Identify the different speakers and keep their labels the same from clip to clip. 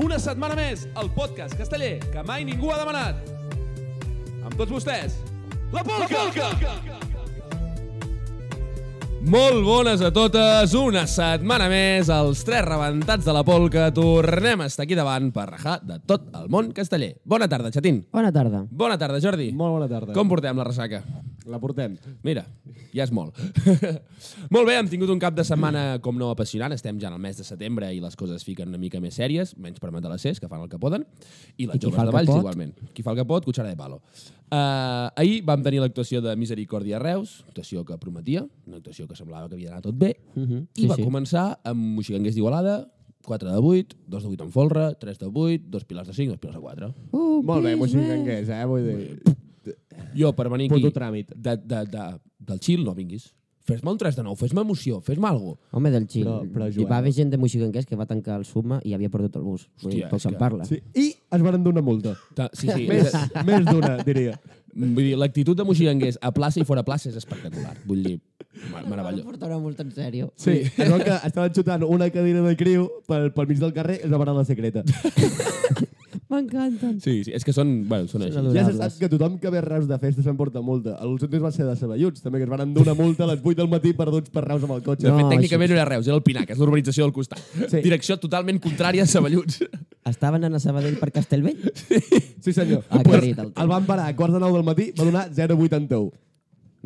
Speaker 1: Una setmana més, el podcast casteller que mai ningú ha demanat. Amb tots vostès, la Polca! La Polca! Molt bones a totes, una setmana més, els tres rebentats de la polca, tornem a estar aquí davant per rajar de tot el món casteller. Bona tarda, Xatín.
Speaker 2: Bona tarda.
Speaker 1: Bona tarda, Jordi.
Speaker 3: Molt bona tarda.
Speaker 1: Com portem la ressaca?
Speaker 3: La portem.
Speaker 1: Mira, ja és molt. molt bé, hem tingut un cap de setmana com no apassionant. Estem ja en el mes de setembre i les coses fiquen una mica més sèries, menys per matalassers, que fan el que poden, i les
Speaker 2: I qui
Speaker 1: joves
Speaker 2: fa el
Speaker 1: de
Speaker 2: que
Speaker 1: Valls
Speaker 2: pot?
Speaker 1: igualment. Qui fa el que pot, cuchara de palo. Uh, ahir vam tenir l'actuació de Misericòrdia a Reus, actuació que prometia, una actuació que semblava que havia d'anar tot bé, i
Speaker 2: Mhm, sí,
Speaker 1: va
Speaker 2: sí.
Speaker 1: començar amb Moixiganguers d'Igualada, 4 de 8, 2 de 8 en folre, 3 de 8, 2 pilars de 5, 2 pilars de 4.
Speaker 2: Uh,
Speaker 3: Molt bé,
Speaker 2: pis,
Speaker 3: moixí
Speaker 2: bé.
Speaker 3: cangués, eh? Vull dir...
Speaker 1: Jo, per venir aquí...
Speaker 3: Puto tràmit.
Speaker 1: De, de, de, del xil no vinguis. Fes-me un 3 de 9, fes-me emoció, fes-me alguna
Speaker 2: Home del Xil.
Speaker 3: Però- però,
Speaker 2: Hi
Speaker 3: Joel.
Speaker 2: va haver gent de Moixiganguers que va tancar el Suma i havia perdut el bus. Vull dir,
Speaker 1: Hòstia,
Speaker 2: Poc
Speaker 1: és
Speaker 2: se'n
Speaker 1: que-
Speaker 2: parla.
Speaker 3: Sí. I es van donar multa.
Speaker 1: Sí, sí.
Speaker 3: Més,
Speaker 1: és,
Speaker 3: més d'una, diria.
Speaker 1: vull dir, l'actitud de Moixiganguers a plaça i fora plaça és espectacular. Vull dir, mar-
Speaker 2: Van
Speaker 1: meravellós.
Speaker 2: portar molt en sèrio.
Speaker 3: Sí, es veu que estaven xutant una cadira de criu pel, pel mig del carrer i es va parar la secreta.
Speaker 2: M'encanten.
Speaker 1: Sí, sí, és que són, bueno, són així.
Speaker 2: adorables.
Speaker 3: Ja se sap que tothom que ve a Reus de festa s'emporta multa. A l'Ulsantis va ser de Saballuts, també, que es van donar multa a les 8 del matí perduts per Reus amb el cotxe.
Speaker 1: De fet,
Speaker 2: No,
Speaker 1: tècnicament no era Reus, era el Pinac, és l'urbanització del costat.
Speaker 3: Sí.
Speaker 1: Direcció totalment contrària a Saballuts.
Speaker 2: Estaven anant a Sabadell per Castellvell?
Speaker 3: Sí, senyor.
Speaker 2: Ah,
Speaker 3: Pues,
Speaker 2: aclarit, el
Speaker 3: el van parar a quarts de 9 del matí, va donar 0,81.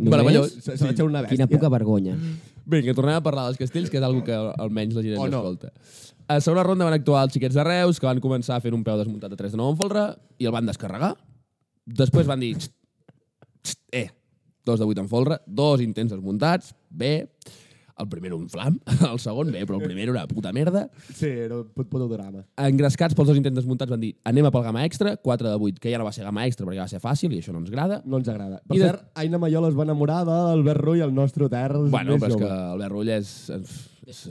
Speaker 1: Meravellós.
Speaker 3: Se, se va deixar una bèstia.
Speaker 2: Quina poca vergonya.
Speaker 1: Vinga, tornem a parlar dels castells, que és algo que almenys la gent
Speaker 3: O
Speaker 1: ens
Speaker 3: no.
Speaker 1: escolta. A segona ronda van actuar els xiquets de Reus, que van començar fent un peu desmuntat de 3 de 9 en folre, i el van descarregar. Després van dir... "Xt, xt, eh, dos de 8 en folre, dos intents desmuntats, bé, el primer un flam, el segon bé, però el primer era una puta merda.
Speaker 3: Sí, era un put, puto drama.
Speaker 1: Engrescats pels dos intents desmuntats van dir anem a pel gamma extra, 4 de 8, que ja no va ser gamma extra perquè va ser fàcil i això no ens agrada.
Speaker 3: No ens agrada. Per
Speaker 1: I de-
Speaker 3: cert, Aina Mayol es va enamorar d'Albert Rull, el nostre hotel
Speaker 1: Bueno,
Speaker 3: més
Speaker 1: però és
Speaker 3: jove.
Speaker 1: que Albert Rull és, és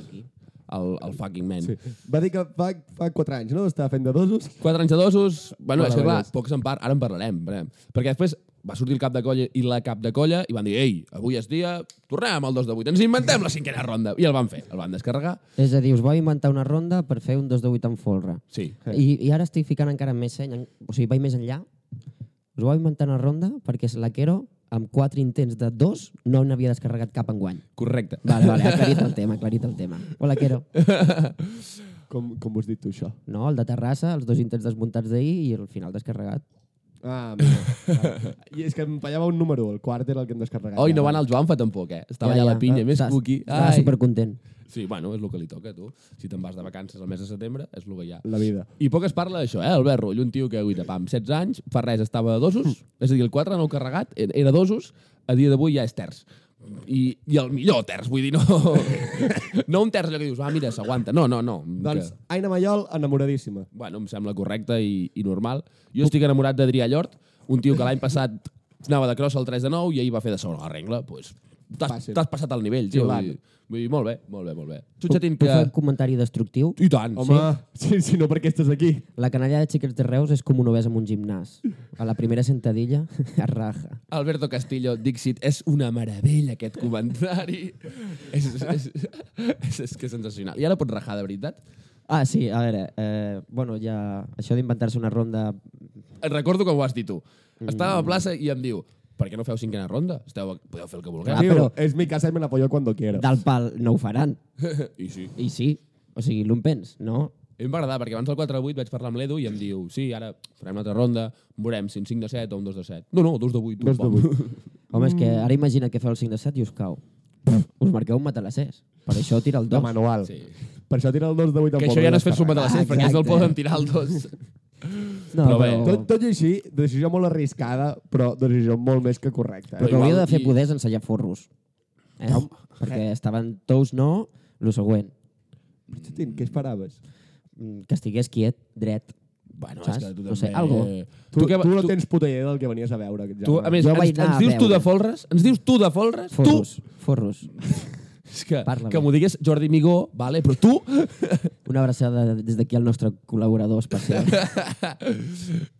Speaker 1: el, el fucking man. Sí.
Speaker 3: Va dir que fa, fa 4 anys, no? Estava fent de dosos.
Speaker 1: Quatre anys de dosos, bueno, és que clar,
Speaker 3: Meravellós.
Speaker 1: pocs en part, ara en parlarem, parlarem. Perquè després va sortir el cap de colla i la cap de colla i van dir, ei, avui és dia, tornem al 2 de 8, ens inventem la cinquena ronda. I el van fer, el van descarregar.
Speaker 2: És a dir, us vau inventar una ronda per fer un 2 de 8 en folre.
Speaker 1: Sí.
Speaker 2: I, I ara estic ficant encara més seny, en- o sigui, vaig més enllà. Us vau inventar una ronda perquè és la Quero, amb quatre intents de dos, no n'havia descarregat cap enguany.
Speaker 1: Correcte.
Speaker 2: Vale, vale, ha aclarit el tema, ha aclarit el tema. Hola, Quero.
Speaker 3: Com, com us dit tu, això?
Speaker 2: No, el de Terrassa, els dos intents desmuntats d'ahir i el final descarregat.
Speaker 3: Ah, mira. I és que em fallava un número, el quart era el que hem descarregat.
Speaker 1: Oi, no va anar el Joan fa tampoc, eh? Estava ja, allà a la pinya, més
Speaker 2: Estava-
Speaker 1: cuqui.
Speaker 2: Estava
Speaker 1: Ai.
Speaker 2: supercontent.
Speaker 1: Sí, bueno, és el que li toca, tu. Si te'n vas de vacances al mes de setembre, és el que hi ha.
Speaker 3: La vida.
Speaker 1: I poc es parla d'això, eh? Albert Rull, un tio que guita, pam, 16 anys, fa res, estava a dosos, és a dir, el 4 no carregat, era- era dosos, a dia d'avui ja és terç. I, I el millor terç, vull dir, no... no un terç allò que dius, va, mira, s'aguanta. No, no, no.
Speaker 3: Doncs
Speaker 1: Que,
Speaker 3: Aina Mayol, enamoradíssima.
Speaker 1: bueno, em sembla correcte i, i normal. Jo estic enamorat d'Adrià Llort, un tio que l'any passat anava de cross al 3 de 9 i ahir va fer de segona la regla. Pues, T'has
Speaker 3: Fàcil.
Speaker 1: t'has passat el nivell, tio.
Speaker 3: Xiulant.
Speaker 1: Vull dir, vull dir, molt bé, molt bé, molt bé.
Speaker 2: Puc,
Speaker 1: Xutxatín,
Speaker 2: puc
Speaker 1: que...
Speaker 2: fer un comentari destructiu?
Speaker 1: I tant,
Speaker 3: Home, sí, sí, no perquè estàs aquí.
Speaker 2: La canalla de xiquets de Reus és com un obès en un gimnàs. A la primera sentadilla es raja.
Speaker 1: Alberto Castillo, Dixit, és una meravella aquest comentari. és, és, és, és, que és sensacional. I ara pots rajar, de veritat?
Speaker 2: Ah, sí, a veure, eh, bueno, ja... Això d'inventar-se una ronda...
Speaker 1: Et recordo com ho has dit tu. Estava a la plaça i em diu per què no feu cinquena ronda? Esteu, podeu fer el que vulgueu.
Speaker 2: Ah,
Speaker 3: Diu,
Speaker 2: però-
Speaker 3: És mi casa i me la pollo quan quiero.
Speaker 2: Del pal no ho faran.
Speaker 1: I sí.
Speaker 2: I sí, o sigui, l'umpens, no?
Speaker 1: A mi em va agradar, perquè abans del 4 de 8 vaig parlar amb l'Edu i em diu, sí, ara farem una altra ronda, veurem si un 5 de 7 o un 2 de 7. No, no, 2 de 8.
Speaker 3: Dos de vuit.
Speaker 2: Home, és que ara imagina't que feu el 5 de 7 i us cau. Us marqueu un matalassers. Per això tira el
Speaker 3: De
Speaker 2: 2.
Speaker 3: manual.
Speaker 1: Sí.
Speaker 3: Per això tira el 2 de 8
Speaker 1: Que això ja no és fer sumat a la 7, perquè és el
Speaker 2: Exacte.
Speaker 1: poden tirar el 2.
Speaker 2: No,
Speaker 1: Però bé.
Speaker 3: Tot, tot i així, decisió molt arriscada, però decisió molt més que correcta.
Speaker 2: El
Speaker 3: Eh?
Speaker 2: que
Speaker 1: Igual
Speaker 2: hauria de fer
Speaker 1: i-
Speaker 2: poder és ensenyar forros. Eh? Perquè estaven tous no, lo següent.
Speaker 3: Xatín, què esperaves?
Speaker 2: Mm, Que estigués quiet, dret.
Speaker 1: Bueno,
Speaker 2: Saps?
Speaker 1: és que tu també...
Speaker 2: No sé, algo.
Speaker 3: Tu, tu,
Speaker 1: que-
Speaker 3: tu no tens puta idea del que venies a veure. Aquest
Speaker 1: Tu,
Speaker 3: germà.
Speaker 1: a més,
Speaker 2: Jo
Speaker 1: ens,
Speaker 2: vaig anar
Speaker 1: ens
Speaker 2: a
Speaker 1: dius tu
Speaker 2: veure.
Speaker 1: de folres? Ens dius tu de folres?
Speaker 2: Forros, forros.
Speaker 1: Tu? És que,
Speaker 2: Parla-me.
Speaker 1: que m'ho digués Jordi Migó, vale, però tu...
Speaker 2: Una abraçada des d'aquí al nostre col·laborador especial.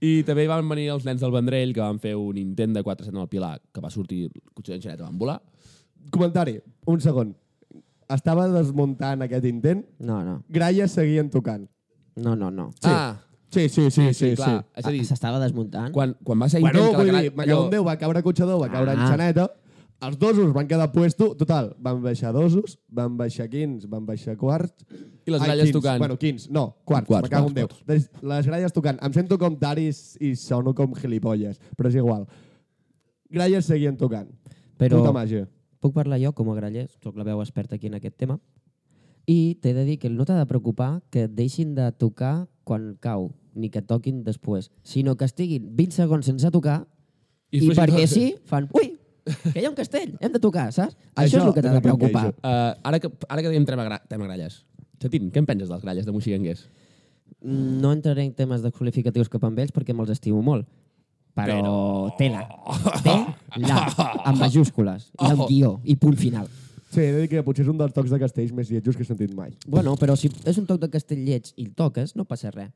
Speaker 1: I també van venir els nens del Vendrell que van fer un intent de 4 al Pilar que va sortir el cotxe d'enxaneta, van volar.
Speaker 3: Comentari, un segon. Estava desmuntant aquest intent,
Speaker 2: No, no.
Speaker 3: gralles seguien tocant.
Speaker 2: No, no, no.
Speaker 1: Sí. Ah,
Speaker 3: Sí, sí, sí, sí. sí,
Speaker 1: clar. És a dir,
Speaker 2: S'estava
Speaker 1: Ah,
Speaker 2: desmuntant.
Speaker 1: quan, quan va ser
Speaker 3: Bueno,
Speaker 1: intent que
Speaker 3: vull
Speaker 1: la
Speaker 3: dir,
Speaker 1: gran...
Speaker 3: me cago en Déu, va caure Cotxador, va caure
Speaker 2: Ah.
Speaker 3: ah. Enxaneta, els dosos van quedar puesto, total, van baixar dosos, van baixar quins, van baixar quarts...
Speaker 1: I les
Speaker 3: Ai,
Speaker 1: gralles
Speaker 3: quins,
Speaker 1: tocant.
Speaker 3: Bueno, quins, no, quarts,
Speaker 1: Quarts,
Speaker 3: quarts me cago en Déu.
Speaker 1: quarts,
Speaker 3: Les, les gralles tocant. Em sento com Daris i sono com gilipolles, però és igual. Gralles seguien tocant.
Speaker 2: Però-
Speaker 3: Puta màgia.
Speaker 2: Puc parlar jo com a grallers, sóc la veu experta aquí en aquest tema, i t'he de dir que no t'ha de preocupar que et deixin de tocar quan cau, ni que toquin després, sinó que estiguin 20 segons sense tocar
Speaker 1: I
Speaker 2: i,
Speaker 1: fugin
Speaker 2: perquè
Speaker 1: del-
Speaker 2: sí, fan, ui, que hi ha un castell, hem de tocar, saps?
Speaker 3: Això
Speaker 2: Això, és el que t'ha
Speaker 3: no
Speaker 2: de
Speaker 3: em
Speaker 2: preocupar.
Speaker 3: queixo.
Speaker 1: Uh, ara, que, ara que diem tema, gra tema gralles. Chatín, què en penses dels gralles de Moixiganguers?
Speaker 2: Mm, No entraré en temes de qualificatius cap amb ells perquè me'ls estimo molt. Però, tela. Tela. Amb majúscules. I amb guió. I punt final.
Speaker 3: Sí, he de dir que potser és un dels tocs de castells més lletjos que he sentit mai.
Speaker 2: Bueno, però si és un toc de castell lleig i el toques, no passa res.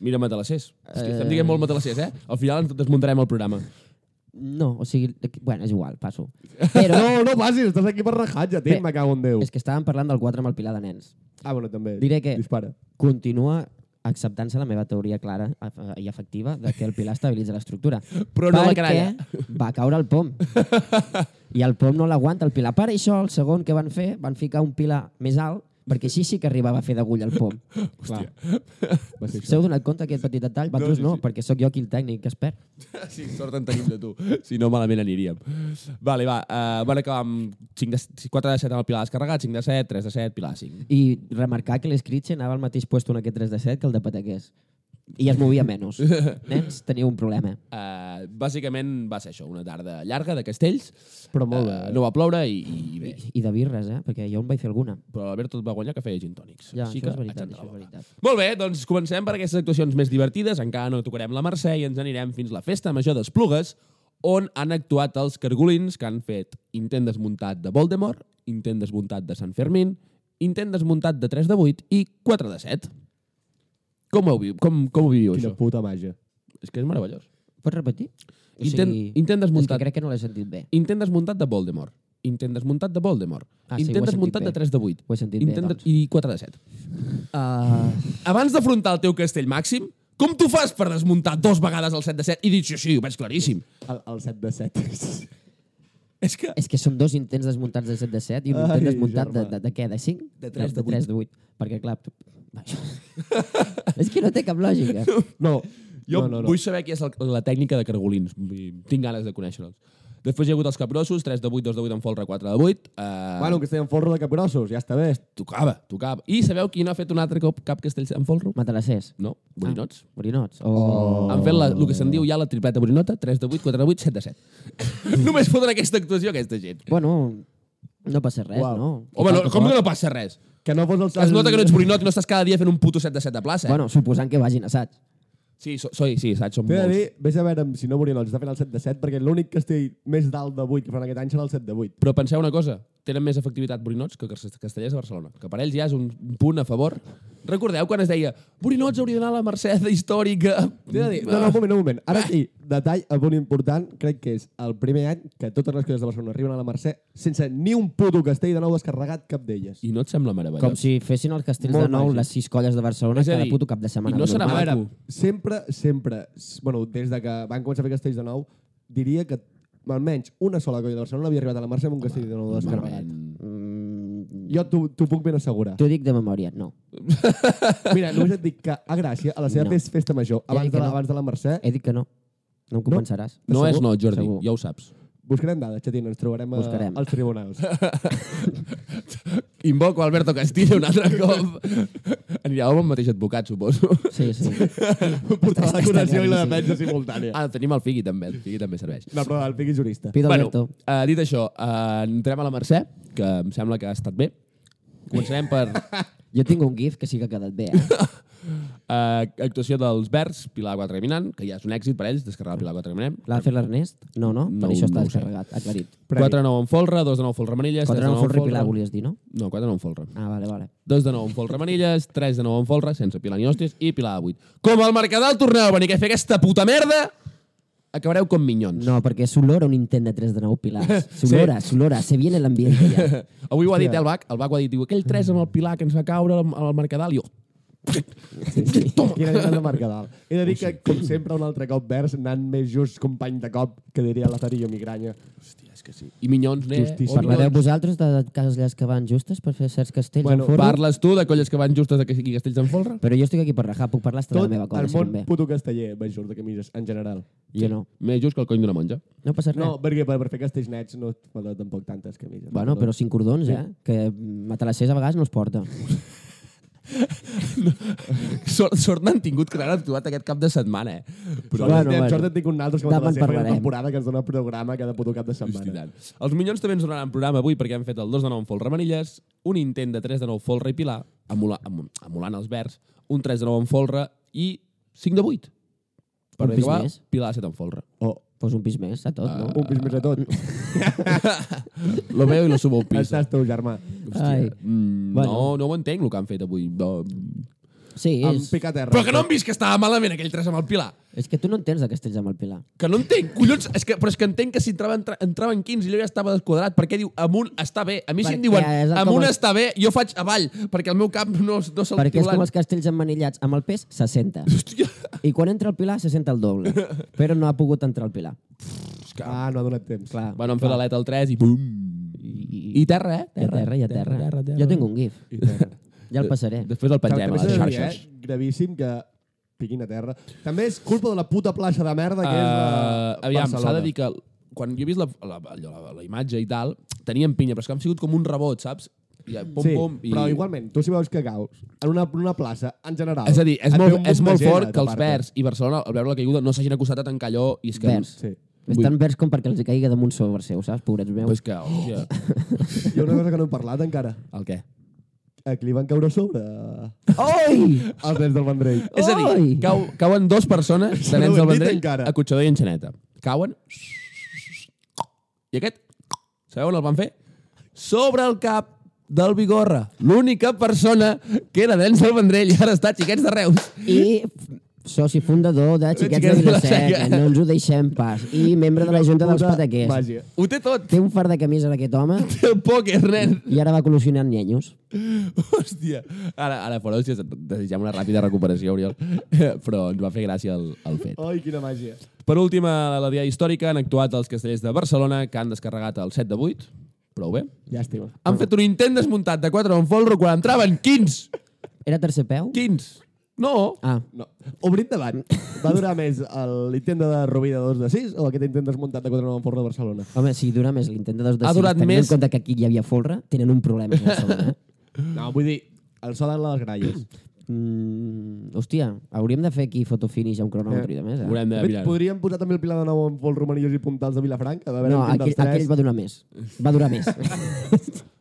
Speaker 1: Mira, matalassers. Uh... És que estem dient molt matalassers, eh? Al final ens desmuntarem el programa.
Speaker 2: No, o sigui... Bueno, és igual, passo. Però
Speaker 3: No, no passis, estàs aquí per rajar, ja, tio,
Speaker 2: Bé,
Speaker 3: me cago en Déu.
Speaker 2: és que estàvem parlant del 4 amb el Pilar de Nens.
Speaker 3: Ah, bueno, també.
Speaker 2: Diré que-
Speaker 3: Dispara.
Speaker 2: Continua acceptant-se la meva teoria clara eh, i efectiva de que el Pilar estabilitza l'estructura.
Speaker 1: Però no la
Speaker 2: Perquè
Speaker 1: canalla.
Speaker 2: va caure el pom. I el pom no l'aguanta el Pilar. Per això, el segon que van fer, van ficar un Pilar més alt perquè així sí que arribava a fer d'agulla el pom. Hòstia.
Speaker 3: Va ser
Speaker 2: S'heu donat compte aquest petit detall? Vosaltres no, perquè sóc jo aquí el tècnic que es perd.
Speaker 1: Sí, sort en tenim de tu. Si no, malament aniríem. Vale, va. Uh, van acabar amb 5 de, 4 de 7 amb el Pilar descarregat, 5 de 7, 3 de 7, Pilar 5.
Speaker 2: I remarcar que l'Escritxe anava al mateix puesto en aquest 3 de 7 que el de Pataqués. I es movia menys. Nens, teniu un problema.
Speaker 1: Uh, bàsicament va ser això, una tarda llarga de castells.
Speaker 3: Però molt
Speaker 1: Eh,
Speaker 3: bé.
Speaker 1: no va ploure i, i bé.
Speaker 2: I, I de birres, eh? Perquè jo en vaig fer alguna.
Speaker 1: Però l'Albert tot va guanyar que feia gin tònics.
Speaker 2: Ja,
Speaker 1: Així
Speaker 2: això
Speaker 1: que
Speaker 2: és veritat,
Speaker 1: aixanta la
Speaker 2: això és
Speaker 1: boca.
Speaker 2: veritat.
Speaker 1: Molt bé, doncs comencem per aquestes actuacions més divertides. Encara no tocarem la Mercè i ens anirem fins la Festa Major d'Esplugues, on han actuat els cargolins que han fet intent desmuntat de Voldemort, intent desmuntat de Sant Fermín, intent desmuntat de 3 de 8 i 4 de 7. Com ho, viu, com, com ho viviu,
Speaker 3: Quina
Speaker 1: això?
Speaker 3: puta màgia.
Speaker 1: És que és meravellós.
Speaker 2: Pots repetir?
Speaker 1: Intent- intent desmuntat.
Speaker 2: És que crec que no l'he sentit bé.
Speaker 1: Intent desmuntat de Voldemort. Intent desmuntat de Voldemort.
Speaker 2: Ah,
Speaker 1: intent
Speaker 2: sí, ho he sentit
Speaker 1: desmuntat
Speaker 2: bé.
Speaker 1: de 3 de 8.
Speaker 2: Ho he sentit bé,
Speaker 1: intent de-
Speaker 2: doncs.
Speaker 1: I ah. 4 de 7.
Speaker 2: Uh,
Speaker 1: Abans d'afrontar el teu castell màxim, com tu fas per desmuntar dos vegades el 7 de 7 i dir, sí, sí, ho veig claríssim.
Speaker 3: El, el 7 de 7.
Speaker 1: És que...
Speaker 2: és que són dos intents desmuntats de 7 de 7 i un intent
Speaker 3: Ai,
Speaker 2: desmuntat de,
Speaker 3: germà.
Speaker 2: de, de, què? De 5?
Speaker 1: De tres, de
Speaker 2: de 3 de 8. Perquè, clar... Tu... és que no té cap lògica.
Speaker 3: No.
Speaker 1: Jo
Speaker 3: no, no, no.
Speaker 1: vull saber qui és el, la tècnica de cargolins. Vull dir, Tinc ganes de conèixer-los. Després hi ha hagut els capgrossos, 3 de 8, 2 de 8 en folre, 4 de 8. Uh,
Speaker 3: Bueno, que estem en forro de capgrossos, ja està bé.
Speaker 1: Tocava, tocava. I sabeu qui no ha fet un altre cop cap castell en folro?
Speaker 2: Matalassers.
Speaker 1: No,
Speaker 2: Ah.
Speaker 1: borinots.
Speaker 2: Borinots. O...
Speaker 1: Han fet la, el que se'n diu ja la tripleta borinota, 3 de 8, 4 de 8, 7 de 7. Només foten aquesta actuació aquesta gent.
Speaker 2: Bueno, no passa res,
Speaker 3: Uau.
Speaker 2: no?
Speaker 1: Home, no, com que no passa res?
Speaker 3: Que no fos el...
Speaker 1: Es nota que no ets borinot i no estàs cada dia fent un puto 7 de 7 a plaça. Eh?
Speaker 2: Bueno, suposant que vagin assaig.
Speaker 1: Sí, so, soy, sí, saps? Som
Speaker 3: T'he de
Speaker 1: molts.
Speaker 3: dir, vés a veure si no Borinols està fent el 7 de 7, perquè l'únic castell més dalt de 8 que faran aquest any serà el 7 de 8.
Speaker 1: Però penseu una cosa, tenen més efectivitat borinots que cas- castellers de Barcelona, que per ells ja és un punt a favor. Recordeu quan es deia borinots hauria d'anar a la Mercè de històrica?
Speaker 3: T'he de dir, Eh? no, no, un moment, un moment. Ara sí, detall a punt important, crec que és el primer any que totes les colles de Barcelona arriben a la Mercè sense ni un puto castell de nou descarregat cap d'elles.
Speaker 1: I no et sembla meravellós?
Speaker 2: Com si fessin els castells
Speaker 3: Molt
Speaker 2: de nou
Speaker 3: màgic.
Speaker 2: les sis colles de Barcelona
Speaker 1: És a
Speaker 2: cada
Speaker 1: dir,
Speaker 2: puto cap de setmana.
Speaker 1: i no serà
Speaker 3: A
Speaker 2: normal.
Speaker 1: maco.
Speaker 3: veure, sempre, sempre, s- bueno, des de que van començar a fer castells de nou, diria que almenys una sola colla de Barcelona havia arribat a la Mercè amb un castell de nou descarregat.
Speaker 2: Mm,
Speaker 3: Jo t'ho t'ho puc ben assegurar.
Speaker 2: T'ho dic de memòria, no.
Speaker 3: Mira, només et dic que a Gràcia, a la seva
Speaker 2: No.
Speaker 3: no. festa major,
Speaker 2: Ja
Speaker 3: abans
Speaker 2: dic que
Speaker 3: de, la,
Speaker 2: no.
Speaker 3: abans de la Mercè,
Speaker 2: He dit que no. No em compensaràs.
Speaker 1: No és no, Jordi,
Speaker 2: Segur.
Speaker 1: ja ho saps.
Speaker 3: buscarem dades, Xatín, ens trobarem a,
Speaker 2: Buscarem.
Speaker 3: als tribunals.
Speaker 1: Invoco Alberto Castillo un altre cop. Aniràveu amb el mateix advocat, suposo.
Speaker 2: Sí, sí.
Speaker 3: Portar la
Speaker 2: acusació
Speaker 3: curació
Speaker 2: i
Speaker 3: i
Speaker 2: la
Speaker 3: la defensa simultània.
Speaker 1: Ah, tenim el Figui també, el Figui també serveix.
Speaker 3: No, però el Piqui jurista.
Speaker 2: Pido
Speaker 1: Bueno,
Speaker 2: Alberto.
Speaker 1: uh, dit això, uh, entrem a la Mercè, que em sembla que ha estat bé. Començarem per
Speaker 2: Jo tinc un gif que sí que ha quedat bé. Eh?
Speaker 1: Uh, actuació dels Verds, Pilar 4 Caminant, que ja és un èxit per ells, descarregar el Pilar 4 Caminant.
Speaker 2: L'ha fet l'Ernest? No, no?
Speaker 1: No,
Speaker 2: Per això
Speaker 1: no
Speaker 2: està
Speaker 1: ho sé.
Speaker 2: descarregat, aclarit.
Speaker 3: Previ.
Speaker 1: 4 de 9 en folre, 2 de 9 en folre manilles, 3
Speaker 2: Contra
Speaker 1: de
Speaker 2: no
Speaker 1: 9
Speaker 2: fos
Speaker 1: en folre...
Speaker 2: repilar, volies dir, no?
Speaker 1: No, 4 de 9 en folre.
Speaker 2: Ah, vale, vale.
Speaker 1: 2 de 9 en folre manilles, 3 de 9 en folre, sense Pilar ni hòsties, i Pilar de 8. Com el Mercadal torneu a venir a fer aquesta puta merda, acabareu com minyons.
Speaker 2: No, perquè s'olora un intent de 3 de 9 pilars. S'olora, s'olora, se viene l'ambient ja.
Speaker 1: Avui ho ha dit eh, el Bac, el Bac ho ha dit, diu, aquell 3 amb el Pilar que ens va caure al, al Mercadal, i jo,
Speaker 3: Sí, sí. Quina gent de Mercadal. He de dir que, com sempre, un altre cop vers, anant més just company de cop, que diria la Tarillo Migranya.
Speaker 1: Hòstia, és que sí. I minyons, ne?
Speaker 3: Justícia.
Speaker 1: Oh,
Speaker 2: Parlareu
Speaker 1: minyons.
Speaker 2: vosaltres de cases que van justes per fer certs castells
Speaker 3: Bueno,
Speaker 2: bueno, en forn?
Speaker 1: Parles tu de colles que van justes de que sigui castells en folre?
Speaker 2: Però jo estic aquí per rajar, puc parlar hasta de
Speaker 3: Tot
Speaker 2: la meva colla,
Speaker 3: el
Speaker 2: si
Speaker 3: món
Speaker 2: convé.
Speaker 3: puto casteller, vaig jur de camises, en general.
Speaker 2: Jo no.
Speaker 1: Més just que el cony d'una monja.
Speaker 2: No passa res.
Speaker 3: No, perquè per, per fer castells nets no et falta tampoc tantes camises.
Speaker 2: Eh. Bueno, però cinc cordons, eh? Que matalassers a vegades no els porta.
Speaker 1: Sort, sort n'han tingut que l'han actuat aquest cap de setmana, eh?
Speaker 3: Però,
Speaker 2: Bueno,
Speaker 3: bueno, bueno.
Speaker 2: bueno.
Speaker 3: Sort en tinc un altre que
Speaker 2: Demà en
Speaker 3: la seva
Speaker 2: parlarem.
Speaker 3: temporada que ens dona programa cada puto cap de setmana.
Speaker 1: Hostilant. Els Minyons també ens donaran programa avui perquè han fet el 2 de 9 en folre manilles, un intent de 3 de 9 folre i pilar, emula, em, emulant els verds, un 3 de 9 en folre i 5 de 8. Per
Speaker 2: Un
Speaker 1: bé
Speaker 2: pis
Speaker 1: que va,
Speaker 2: més.
Speaker 1: pilar de 7 en folre.
Speaker 3: O Ah,
Speaker 2: Pues un pis més, a tot, no?
Speaker 3: un pis més a tot.
Speaker 1: Lo veo i lo subo al pis.
Speaker 3: Estàs teu germà.
Speaker 2: Ai.
Speaker 1: Mm,
Speaker 2: Bueno.
Speaker 1: No, no ho entenc, el que han fet avui. No.
Speaker 2: Sí,
Speaker 3: Em
Speaker 2: és,
Speaker 3: pica a terra.
Speaker 1: Però que no han vist que estava malament aquell 3 amb el pilar.
Speaker 2: és que tu no entens de castells amb el Pilar.
Speaker 1: Que no entenc, collons, és que, però és que entenc que si entrava, entra, entrava en 15 i jo ja estava desquadrat, perquè diu amunt està bé. A mi si em
Speaker 2: Perquè
Speaker 1: diuen
Speaker 2: és el com
Speaker 1: amunt
Speaker 2: el-
Speaker 1: està bé, jo faig avall, perquè el meu cap no, no se'l
Speaker 2: Perquè és com
Speaker 1: teulat.
Speaker 2: els castells emmanillats. Amb el pes, se senta.
Speaker 1: Hòstia,
Speaker 2: I quan entra el Pilar, se senta el doble. Però no ha pogut entrar el Pilar.
Speaker 3: Ah, no ha donat temps.
Speaker 2: Clar.
Speaker 1: Van fer l'aleta al 3 i bum. I terra, eh?
Speaker 2: Hi ha terra, hi ha terra. Jo tinc un gif.
Speaker 3: I terra.
Speaker 2: Ja el passaré.
Speaker 1: Després el pengem a
Speaker 3: També
Speaker 1: les
Speaker 3: s'ha de dir,
Speaker 1: xarxes.
Speaker 3: Eh? Gravíssim que piquin a terra. També és culpa de la puta plaça de merda que
Speaker 1: Uh,
Speaker 3: és la
Speaker 1: aviam, s'ha
Speaker 3: Barcelona.
Speaker 1: de dir que quan jo he vist la, la, allò, la, la imatge i tal, teníem pinya, però és que han sigut com un rebot, saps? I, ja, pum,
Speaker 3: sí,
Speaker 1: pum, i...
Speaker 3: però igualment, tu si veus que caus en una, en una plaça, en general...
Speaker 1: És a dir, és
Speaker 3: et ve
Speaker 1: molt,
Speaker 3: un
Speaker 1: és
Speaker 3: munt
Speaker 1: molt
Speaker 3: de gent
Speaker 1: fort
Speaker 3: a
Speaker 1: que els
Speaker 3: tapar-te.
Speaker 1: Verds i Barcelona, al veure la caiguda, no s'hagin acostat a tancar allò i és que...
Speaker 2: Verds.
Speaker 3: Sí.
Speaker 2: Estan verds com perquè els hi caigui damunt sobre seu, saps? Pobrets
Speaker 1: Però
Speaker 2: meus.
Speaker 1: és que, hòstia,
Speaker 3: Hi ha una cosa que no hem parlat encara.
Speaker 1: el què?
Speaker 3: A qui li van caure a sobre eh,
Speaker 2: Oi!
Speaker 3: els nens del Vendrell?
Speaker 1: És a dir,
Speaker 2: Oi!
Speaker 1: cau, cauen dos persones de
Speaker 3: no
Speaker 1: nens
Speaker 3: ho hem
Speaker 1: del
Speaker 3: dit
Speaker 1: Vendrell
Speaker 3: encara.
Speaker 1: a Cotxador i Enxaneta. Cauen. I aquest, sabeu on el van fer? Sobre el cap del Vigorra. L'única persona que era d'ens del Vendrell i ara està a xiquets de Reus.
Speaker 2: I soci fundador de Xiquets de
Speaker 1: Xiquets de la
Speaker 2: Vilaseca,
Speaker 1: Seca.
Speaker 2: no ens ho deixem pas. I membre de la Junta dels
Speaker 3: Puta
Speaker 2: Pataquers.
Speaker 3: Màgia.
Speaker 1: Ho té tot.
Speaker 2: Té un far de camisa d'aquest home
Speaker 1: Té el pòquer, nen.
Speaker 2: i ara va col·lusionant nyenyos.
Speaker 1: Hòstia. Ara, ara fora, hòstia, desitgem una ràpida recuperació, Oriol. Però ens va fer gràcia el, el fet.
Speaker 3: Ai, quina màgia.
Speaker 1: Per últim, a la Diada Històrica han actuat els castellers de Barcelona, que han descarregat el 7 de 8. Prou bé.
Speaker 3: Llàstima.
Speaker 1: Han fet un intent desmuntat de 4 en folro quan entraven 15.
Speaker 2: Era tercer peu?
Speaker 1: 15. No.
Speaker 2: Ah,
Speaker 3: No. Obrim debat. Va durar més el- l'intent de Rubí de 2 de 6 o aquest intent desmuntat de 4 9 en Forra de Barcelona?
Speaker 2: home, si dura més l'intent de dos de
Speaker 1: Ha
Speaker 2: sis,
Speaker 1: durat
Speaker 2: tenint
Speaker 1: més-
Speaker 2: en compte que aquí hi havia folre, tenen un problema. a Barcelona, eh?
Speaker 3: No, vull dir, el sol en les gralles.
Speaker 2: Mm, hòstia, hauríem de fer aquí fotofinish a un cronòmetre i de més, eh?
Speaker 1: Haurem de
Speaker 3: De fet,
Speaker 1: mirar.
Speaker 3: podríem posar també el Pilar de nou amb vols romanillos i puntals de Vilafranca? A veure
Speaker 2: No,
Speaker 3: no, quin
Speaker 2: aquell,
Speaker 3: dels tres...
Speaker 2: aquell va donar més. Va durar més.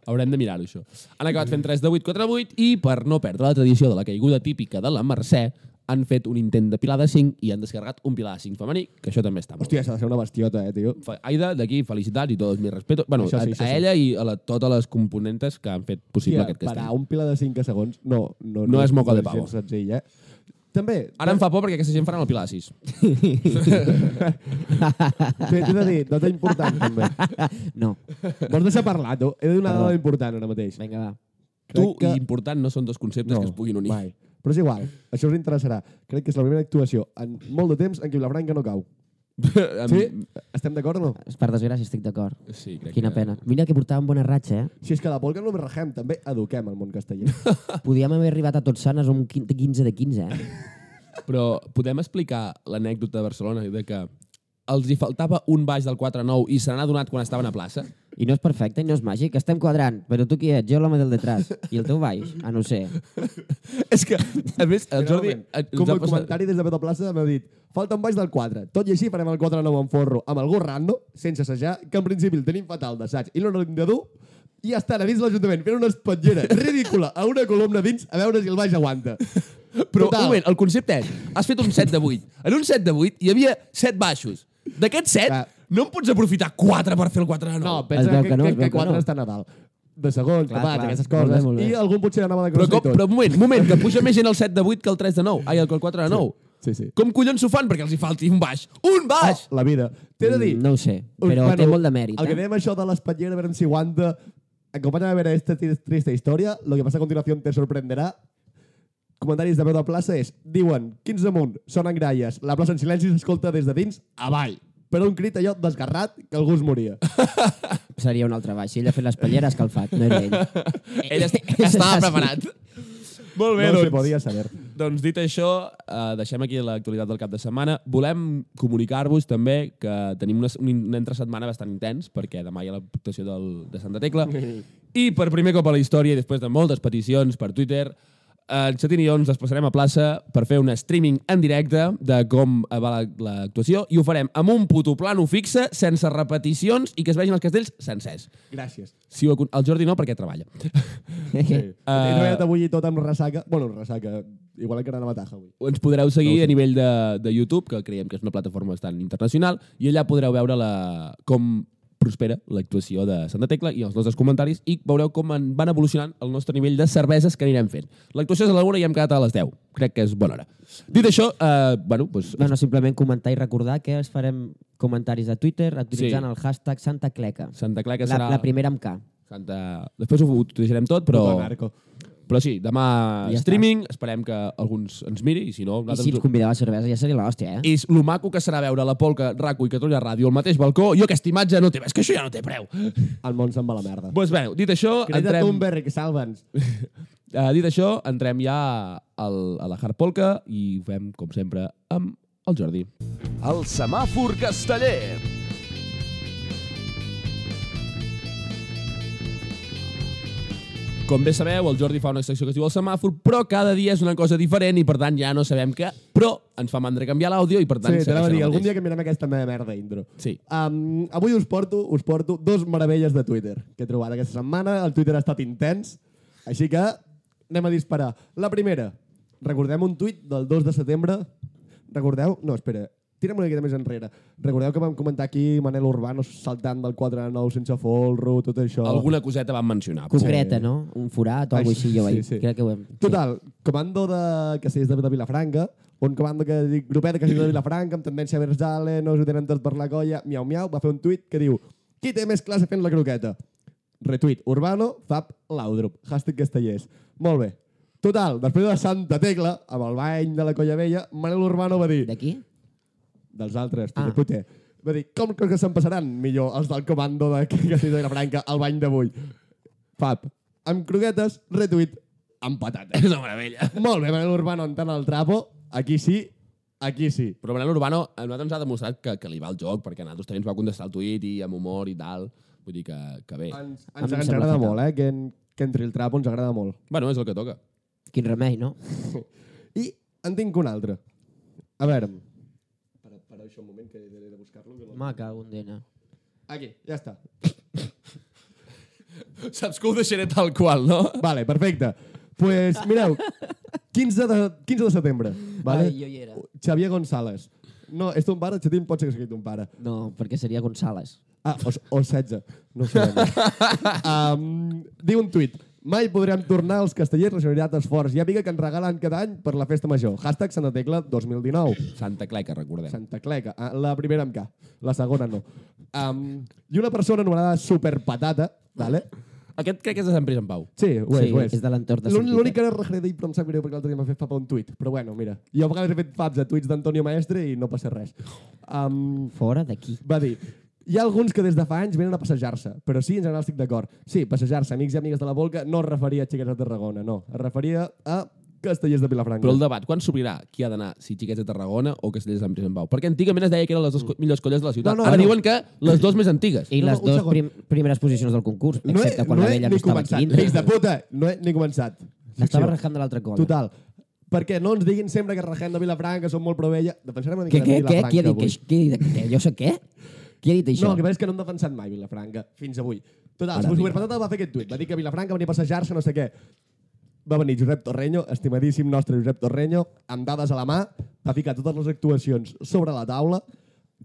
Speaker 1: Haurem de mirar-ho, això. Han acabat fent 3 de 8, 4 de 8 i, per no perdre la tradició de la caiguda típica de la Mercè, han fet un intent de pilar de 5 i han descarregat un pilar de 5 femení, que això també està molt
Speaker 3: Hòstia, s'ha de ser una bastiota, eh, tio.
Speaker 1: Fa- Aida, d'aquí, felicitats i tots mis respetos. Bueno,
Speaker 3: Això sí,
Speaker 1: sí,
Speaker 3: això
Speaker 1: a,
Speaker 3: sí.
Speaker 1: a ella i a la, totes les componentes que han fet possible
Speaker 3: Hòstia,
Speaker 1: aquest
Speaker 3: parar
Speaker 1: castell.
Speaker 3: un Pilar de 5 segons... No, no,
Speaker 1: No és moco de pavo.
Speaker 3: gens Senzill, eh? També,
Speaker 1: Ara em fa por perquè aquesta gent faran el pilar de 6.
Speaker 3: t'he t'he de dir, data important, també.
Speaker 2: No.
Speaker 3: Vols deixar parlar, tu? He de dir una
Speaker 2: Perdó.
Speaker 3: dada important ara mateix.
Speaker 2: Vinga, va.
Speaker 1: Tu
Speaker 3: Crec que-
Speaker 1: i important no són dos conceptes que es puguin unir.
Speaker 3: Mai. Però és igual, això us interessarà. Crec que és la primera actuació en molt de temps en què Vilafranca no cau.
Speaker 1: Amb-
Speaker 3: Sí? Estem d'acord o no?
Speaker 2: Per desgràcia estic d'acord.
Speaker 1: Sí, crec
Speaker 2: Quina
Speaker 1: que...
Speaker 2: pena. Mira que portàvem bona ratxa, eh?
Speaker 3: Si és que la polca no només regem, també eduquem el món casteller.
Speaker 2: Podíem haver arribat a Tots Sanes amb un quin- 15 de 15, eh?
Speaker 1: Però podem explicar l'anècdota de Barcelona de que els hi faltava un baix del 4-9 i se n'ha donat quan estaven a plaça?
Speaker 2: I no és perfecte, i no és màgic. Estem quadrant, però tu qui ets? Jo l'home del detrás. I el teu baix? Ah, no ho sé.
Speaker 1: És que, a més, el Jordi...
Speaker 3: Finalment,
Speaker 1: ens
Speaker 3: com
Speaker 1: ha
Speaker 3: el
Speaker 1: passat-
Speaker 3: comentari des de Beto Plaça m'ha dit falta un baix del 4. Tot i així farem el 4 nou en forro amb algú rando, sense assajar, que en principi el tenim fatal d'assaig i no n'hem de dur, i ja estan a dins l'Ajuntament fent una espatllera ridícula a una columna dins a veure si el baix aguanta.
Speaker 1: Però,
Speaker 3: Total.
Speaker 1: un moment, el concepte és, has fet un set de 8. En un set de 8 hi havia 7 baixos. D'aquests 7,
Speaker 3: Clar.
Speaker 1: no en pots aprofitar 4 per fer el 4 de 9.
Speaker 3: No,
Speaker 2: Es
Speaker 3: pensa
Speaker 2: veu
Speaker 3: que,
Speaker 2: que no,
Speaker 3: que,
Speaker 2: es veu
Speaker 3: que
Speaker 2: que
Speaker 3: 4
Speaker 2: no.
Speaker 3: està a Nadal. De segon,
Speaker 2: Clar,
Speaker 3: clar, clar,
Speaker 2: clar.
Speaker 3: aquestes
Speaker 2: Molt bé,
Speaker 3: coses.
Speaker 2: molt bé.
Speaker 3: I algun potser anava de
Speaker 1: Però
Speaker 3: grossa
Speaker 1: com,
Speaker 3: i tot.
Speaker 1: però un moment, un moment, que puja més gent el 7 de 8 que el 3 de 9. Ai, el 4 de 9.
Speaker 3: Sí, sí. Ah,
Speaker 1: Com collons s'ho fan perquè els hi falti un baix? Un baix!
Speaker 3: La vida. T'he de dir...
Speaker 2: Mm, no ho sé, però té molt de mèrit,
Speaker 3: El que
Speaker 2: eh?
Speaker 3: dèiem això de l'espatllera, a veure si aguanta... Acompanya'm a veure esta tri- trista història. Lo que pasa a continuación te sorprenderá. comentaris de veu de plaça és, diuen, 15 amunt, sonen gralles, la plaça en silenci s'escolta des de dins, Oh, avall. Però un crit allò desgarrat que algú es moria.
Speaker 2: Seria un altre baix. Si ell ha fet les palleres, calfat. No era ell.
Speaker 1: Ell est estava
Speaker 2: sí.
Speaker 1: preparat. Molt bé,
Speaker 3: no se
Speaker 1: doncs.
Speaker 3: podia saber.
Speaker 1: Doncs dit això, eh, deixem aquí l'actualitat del cap de setmana. Volem comunicar-vos també que tenim una, un, un entre setmana bastant intens, perquè demà hi ha la votació del, de Santa Tecla. I per primer cop a la història, i després de moltes peticions per Twitter, en Xatín i jo ens desplaçarem a plaça per fer un streaming en directe de com va la- l'actuació i ho farem amb un puto plano fixe, sense repeticions i que es vegin els castells sencers.
Speaker 3: Gràcies.
Speaker 1: Si ho acon- el Jordi no, perquè treballa.
Speaker 3: Sí. Uh... He
Speaker 1: Eh,
Speaker 3: treballat avui i tot amb ressaca. Bueno, ressaca. Igual encara anava a Taja avui.
Speaker 1: ens podreu seguir a nivell de, de YouTube, que creiem que és una plataforma bastant internacional, i allà podreu veure la, com prospera l'actuació de Santa Tecla i els nostres comentaris i veureu com en van evolucionant el nostre nivell de cerveses que anirem fent. L'actuació és a la 1 i hem quedat a les 10. Crec que és bona hora. Dit això, eh, bueno, doncs,
Speaker 2: Bueno, simplement comentar i recordar que es farem comentaris a Twitter utilitzant
Speaker 1: Sí.
Speaker 2: sí. el hashtag Santa Cleca.
Speaker 1: Santa Clara
Speaker 2: la,
Speaker 1: serà...
Speaker 2: la primera amb K.
Speaker 1: Santa... Després ho utilitzarem tot, però...
Speaker 3: Puto narco.
Speaker 1: Però sí, demà
Speaker 2: I ja
Speaker 1: streaming, esperem que alguns ens miri, i si no...
Speaker 2: I
Speaker 1: nosaltres
Speaker 2: si
Speaker 1: us-
Speaker 2: ens convideu a cervesa ja seria l'hòstia, eh?
Speaker 1: és lo maco que serà veure la polca, RACO i Catalunya Ràdio al mateix balcó. Jo aquesta imatge no té, és que això ja no té preu. Doncs
Speaker 3: El món se'n va a la merda.
Speaker 1: pues bé, dit això,
Speaker 3: Greta
Speaker 1: entrem,
Speaker 3: Thunberg, salva'ns.
Speaker 1: uh, dit això, entrem ja al, a la hard polca i ho fem, com sempre, amb el Jordi.
Speaker 4: El semàfor casteller.
Speaker 1: Com bé sabeu, el Jordi fa una secció que es diu El semàfor, però cada dia és una cosa diferent i, per tant, ja no sabem què. Però ens fa mandra canviar l'àudio i, per tant,
Speaker 3: Sí,
Speaker 1: segueix
Speaker 3: t'anava a
Speaker 1: el
Speaker 3: dir, algun
Speaker 1: mateix.
Speaker 3: dia canviarem aquesta meva merda intro.
Speaker 1: Sí.
Speaker 3: Um, avui us porto, us porto dos meravelles de Twitter que he trobat aquesta setmana. El Twitter ha estat intens, així que anem a disparar. La primera, recordem un tuit del 2 de setembre. Recordeu? No, espera, tira'm una miqueta més enrere. Recordeu que vam comentar aquí Manel Urbano saltant del 4 a 9 sense folro, tot això.
Speaker 1: Alguna coseta vam mencionar.
Speaker 2: Concreta, no? Un forat o alguna cosa així, jo vaig.
Speaker 3: Sí, sí.
Speaker 2: Crec que ho hem...
Speaker 3: Total, comando de castells de, de Vilafranca, un comando que dic, grupet de castells de Vilafranca, amb tendència versale, no us ho tenen tot per la colla, miau, miau, va fer un tuit que diu qui té més classe fent la croqueta? Retuit, Urbano, Fab, Laudrup, hashtag castellers. Molt bé. Total, després de Santa Tecla, amb el bany de la colla vella, Manel Urbano va dir,
Speaker 2: D'aquí?
Speaker 3: dels altres,
Speaker 2: Ah.
Speaker 3: ah. puter, va dir, com creus que se'n passaran millor els del comando de castells de Vilafranca al bany d'avui? Fab, amb croquetes, retuit, amb patates.
Speaker 1: eh? És una meravella.
Speaker 3: Molt bé, Manel Urbano entrant al trapo. Aquí sí, aquí sí.
Speaker 1: Però Manel Urbano a nosaltres ens ha demostrat que, que li va el joc, perquè a nosaltres també ens va contestar el tuit i amb humor i tal. Vull dir que, que bé.
Speaker 3: Ens,
Speaker 2: A mi em
Speaker 3: ens, ens
Speaker 2: sembla
Speaker 3: agrada
Speaker 2: fatal.
Speaker 3: molt, eh? Que, en, que entri el trapo ens agrada molt.
Speaker 1: Bueno, és el que toca.
Speaker 2: Quin remei, no?
Speaker 3: I en tinc un altre. A veure... Para, para això un moment, que he de buscar-lo.
Speaker 2: Maca, un dena.
Speaker 3: Aquí, ja està.
Speaker 1: Saps que ho deixaré tal qual, no?
Speaker 3: Vale, perfecte. Pues mireu, 15 de, 15 de setembre. Vale?
Speaker 2: Ai, jo hi era.
Speaker 3: Xavier González. No, és ton pare, Xatín, pot ser que sigui ton pare.
Speaker 2: No, perquè seria González.
Speaker 3: Ah, o, o 16. No ho sabem. um, diu un tuit. Mai podrem tornar als castellers la Generalitat d'Esforç i amiga que ens regalen cada any per la festa major. Hashtag Santa Tecla 2019.
Speaker 1: Santa Cleca, recordem. Sant...
Speaker 3: Santa Cleca. Ah, la primera amb K. La segona no. Um, I una persona anomenada Superpatata, vale?
Speaker 1: Aquest crec que és de Sant Pere i Sant Pau.
Speaker 3: Sí, ho és,
Speaker 2: Sí,
Speaker 3: ho és.
Speaker 2: és de l'entorn de
Speaker 3: L'un-
Speaker 2: Sant
Speaker 3: L'únic que ara regredi, però em sap greu perquè l'altre dia m'ha fet fapa un tuit. Però bueno, mira. Jo a vegades he fet faps a tuits d'Antonio Maestre i no passa res. Um,
Speaker 2: Fora d'aquí.
Speaker 3: va dir hi ha alguns que des de fa anys venen a passejar-se, però sí, en general estic d'acord. Sí, passejar-se, amics i amigues de la Volga, no es referia a xiquets de Tarragona, no. Es referia a castellers de Vilafranca.
Speaker 1: Però el debat, quan s'obrirà qui ha d'anar, si xiquets de Tarragona o castellers de Sant Pere i Sant Pau? Perquè antigament es deia que eren les dues co- millors colles de la ciutat.
Speaker 3: No,
Speaker 1: No,
Speaker 3: no,
Speaker 1: no, Ara
Speaker 3: no.
Speaker 1: diuen que les dues més antigues.
Speaker 2: I
Speaker 3: No, no,
Speaker 2: les
Speaker 3: un
Speaker 2: dues
Speaker 3: segon.
Speaker 2: prim primeres posicions del concurs, excepte quan la vella no
Speaker 3: ni
Speaker 2: estava aquí
Speaker 3: començat. Fills de
Speaker 2: dintre.
Speaker 3: puta, no he ni començat.
Speaker 2: Estava
Speaker 3: Secció.
Speaker 2: rajant de l'altra colla.
Speaker 3: Total. Perquè no ens diguin sempre que rajem de Vilafranca, som molt provella. Defensarem una
Speaker 2: Què,
Speaker 3: mica
Speaker 2: què,
Speaker 3: de
Speaker 2: què?
Speaker 3: Vilafranca
Speaker 2: Qui ha dit,
Speaker 3: avui.
Speaker 2: que, qui ha dit que, jo sé què? Qui ha dit això?
Speaker 3: No, el que passa és que no hem defensat mai Vilafranca, fins avui. Total,
Speaker 1: Ara
Speaker 3: el Superpatata va fer aquest tuit, va dir que Vilafranca venia a passejar-se, no sé què. Va venir Josep Torreño, estimadíssim nostre Josep Torreño, amb dades a la mà, va ficar totes les actuacions sobre la taula.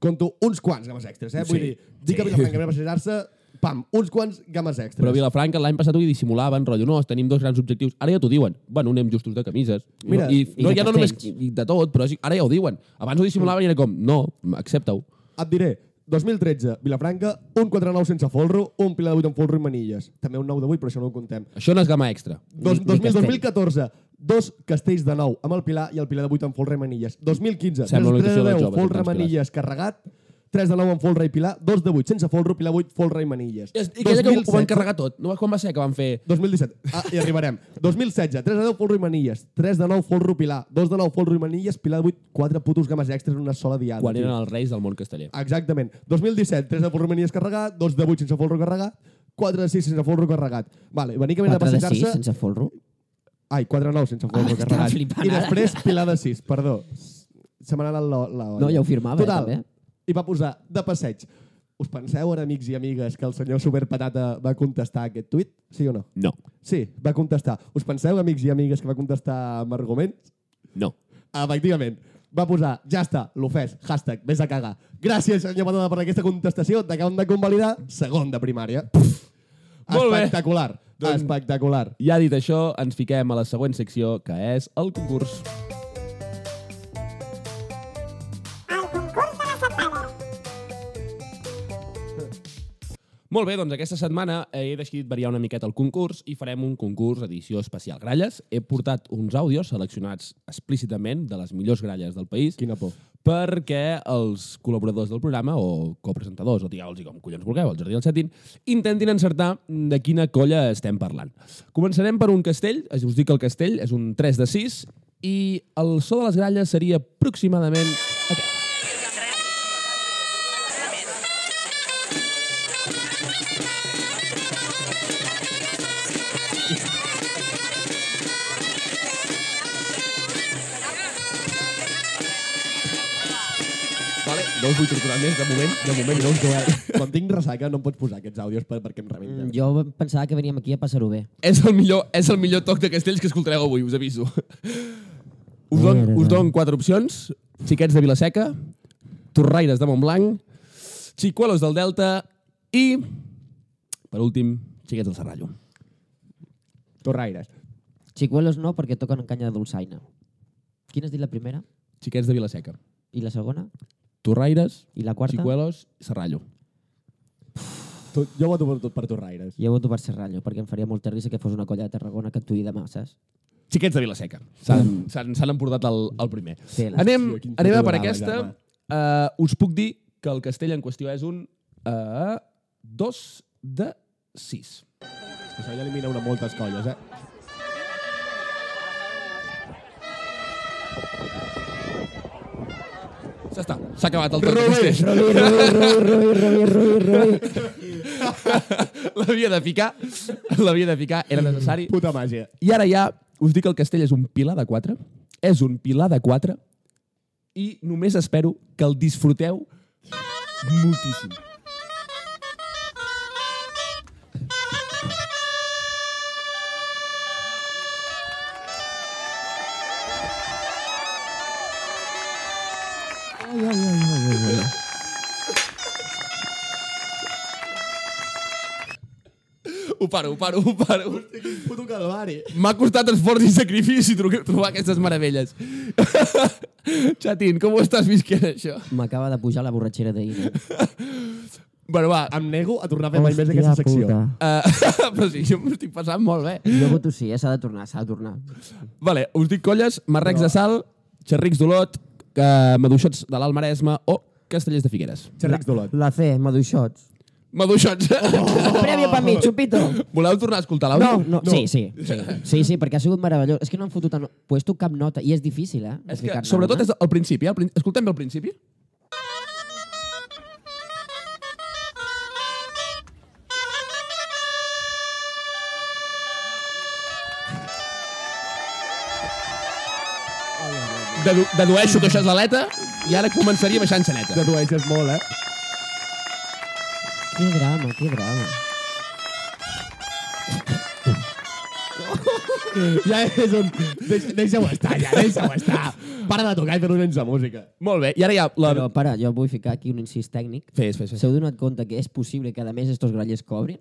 Speaker 3: Compto uns quants games extres, eh? Vull
Speaker 1: Sí.
Speaker 3: dir, dir que Vilafranca venia a passejar-se, pam, uns quants games extres.
Speaker 1: Però a Vilafranca l'any passat ho dissimulaven, rotllo, no, tenim dos grans objectius. Ara ja t'ho diuen. Bueno, anem justos de camises.
Speaker 3: Mira,
Speaker 1: I,
Speaker 2: i
Speaker 1: no,
Speaker 2: de
Speaker 1: ja no només
Speaker 2: castells.
Speaker 1: i de tot, però sí, ara ja ho diuen. Abans ho dissimulaven i era com, no, accepta-ho.
Speaker 3: Et diré, 2013, Vilafranca, un 4-9 sense folro, un pilar de 8 amb folro i manilles. També un 9 de 8, però això no ho contem.
Speaker 1: Això no és gama extra.
Speaker 3: Dos,
Speaker 2: Ni- ni
Speaker 3: 2000,
Speaker 2: castell.
Speaker 3: 2014, Dos castells de nou amb el Pilar i el Pilar de 8 amb folre i manilles. 2015,
Speaker 1: Sembla una
Speaker 3: 3 de
Speaker 1: imitació dels
Speaker 3: 10,
Speaker 1: joves,
Speaker 3: folre
Speaker 1: aquests
Speaker 3: manilles carregat, 3 de 9 amb folre i Pilar, 2 de 8 sense folre, Pilar 8, folre i manilles.
Speaker 1: I aquella que ho van
Speaker 3: 2017,
Speaker 1: carregar tot. No, quan va ser que van fer...
Speaker 3: 2017. Ah, hi arribarem. 2016, 3 de 10 folro i manilles, 3 de 9 folro pilar, 2 de 9 folro i manilles, pilar de 8, 4 putos games extres en una sola diada.
Speaker 1: Quan
Speaker 3: tio.
Speaker 1: eren els reis del món casteller.
Speaker 3: Exactament. 2017, 3 de folro i manilles carregat, 2 de 8 sense folro carregat, 4 de 6 sense folro carregat. Vale, venir caminant a
Speaker 2: 4 de 6
Speaker 3: passejar-se...
Speaker 2: sense folro?
Speaker 3: Ai, 4 de 9 sense folro
Speaker 2: Ah, estava
Speaker 3: carregat.
Speaker 2: flipant
Speaker 3: I
Speaker 2: ara.
Speaker 3: després pilar de 6, perdó. Se m'ha anat la, la olla.
Speaker 2: No, ja ho firmava, eh,
Speaker 3: Total,
Speaker 2: també.
Speaker 3: i va posar de passeig. Us penseu ara, amics i amigues, que el senyor Superpatata va contestar aquest tuit? Sí o no?
Speaker 1: No,
Speaker 3: Sí, va contestar. Us penseu, amics i amigues, que va contestar amb arguments?
Speaker 1: no.
Speaker 3: Efectivament. Va posar, ja està, l'ofès, hashtag, vés a cagar. Gràcies, senyor Patada, per aquesta contestació. T'acabem de convalidar segon de primària.
Speaker 1: Molt bé.
Speaker 3: Espectacular.
Speaker 1: Doncs-
Speaker 3: Espectacular.
Speaker 1: Ja dit això, ens fiquem a la següent secció, que és el concurs.
Speaker 5: al concurs de la setmana.
Speaker 1: Molt bé, doncs aquesta setmana he decidit variar una miqueta el concurs i farem un concurs edició especial gralles. He portat uns àudios seleccionats explícitament de les millors gralles del país
Speaker 3: Quina por.
Speaker 1: perquè els col·laboradors del programa o copresentadors, o digueu-los com collons vulgueu, el Jardí del Setin, intentin encertar de quina colla estem parlant. Començarem per un castell, us dic que el castell és un 3 de 6 i el so de les gralles seria aproximadament... aquest. Vale, no us vull torturar més, de moment, de moment no us doeu.
Speaker 3: Quan tinc ressaca no em pots posar aquests àudios per, perquè em rebenten.
Speaker 2: Jo pensava que veníem aquí a passar-ho bé.
Speaker 1: És el millor, és el millor toc de castells que escoltareu avui, us aviso. Us don,
Speaker 2: Merda.
Speaker 1: us don quatre opcions. Xiquets de Vilaseca, Torraires de Montblanc, Xicuelos del Delta i, per últim, Xiquets del Serrallo. Mm.
Speaker 3: Torraires.
Speaker 2: Xicuelos no, perquè toquen en canya de dolçaina. Quina has dit la primera?
Speaker 1: Xiquets de Vilaseca,
Speaker 2: I la segona?
Speaker 1: Torraires,
Speaker 2: I la quarta?
Speaker 1: Xicuelos, Serrallo.
Speaker 3: Tu, jo voto per, per Torraires.
Speaker 2: Jo voto per Serrallo, perquè em faria molta risa que fos una colla de Tarragona que actuï demà, saps?
Speaker 1: Xiquets de Vilaseca. S'han s'han- s'han emportat el, el primer.
Speaker 2: Tela.
Speaker 1: Anem,
Speaker 3: Hòstia, quin
Speaker 1: anem a per
Speaker 3: fotodrama,
Speaker 1: aquesta.
Speaker 3: Carme.
Speaker 1: Uh, us puc dir que el castell en qüestió és un uh, 2 de 6.
Speaker 3: És que això ja elimina una moltes colles, eh?
Speaker 1: Ja està, s'ha acabat el toc de
Speaker 3: Robi,
Speaker 1: castell.
Speaker 3: Robi, Robi, Robi, Robi, Robi, Robi, Robi.
Speaker 1: L'havia de ficar, l'havia de ficar, era necessari.
Speaker 3: Puta màgia.
Speaker 1: I ara ja us dic que el castell és un pilar de 4, és un pilar de 4 i només espero que el disfruteu moltíssim. Ho paro, ho paro, ho paro.
Speaker 3: Puto calvari.
Speaker 1: M'ha costat esforç i sacrifici tro- trobar aquestes meravelles. Chatín, com ho estàs visquent, això?
Speaker 2: M'acaba de pujar la borratxera d'ahir.
Speaker 1: Bueno, va,
Speaker 3: Em nego a tornar a fer mai més aquesta secció.
Speaker 1: Uh, però sí, jo m'ho estic passant molt bé.
Speaker 2: Jo voto sí, eh? s'ha de tornar, s'ha de tornar.
Speaker 1: Vale, us dic colles, marrecs de sal, xerrics d'Olot, uh, maduixots de l'Alt Maresme o castellers de Figueres.
Speaker 3: Xerrics d'Olot.
Speaker 2: La C, maduixots.
Speaker 1: Maduixots. Oh.
Speaker 2: Oh! Prèvia per mi, xupito!
Speaker 1: Voleu tornar a escoltar l'àudio?
Speaker 2: No, no, Sí, sí, sí, sí, sí, perquè ha sigut meravellós. És que no han fotut... En... Puesto cap nota, i és difícil, eh?
Speaker 1: És que, sobretot, és al principi. Eh? Al prin- Escoltem bé al principi. Dedu dedueixo que això és l'aleta i ara començaria baixant xaneta.
Speaker 3: Dedueixes molt, eh?
Speaker 2: Que drama, que drama.
Speaker 3: Ja és un... Deix, deixa-ho estar, ja, deixa-ho estar. Para de tocar i fer-ho sense música.
Speaker 1: Molt bé, i ara ja... La...
Speaker 2: Però, para, jo vull ficar aquí un incís tècnic.
Speaker 1: Fes, fes, fes.
Speaker 2: S'heu donat compte que és possible que, a més, estos grallers cobrin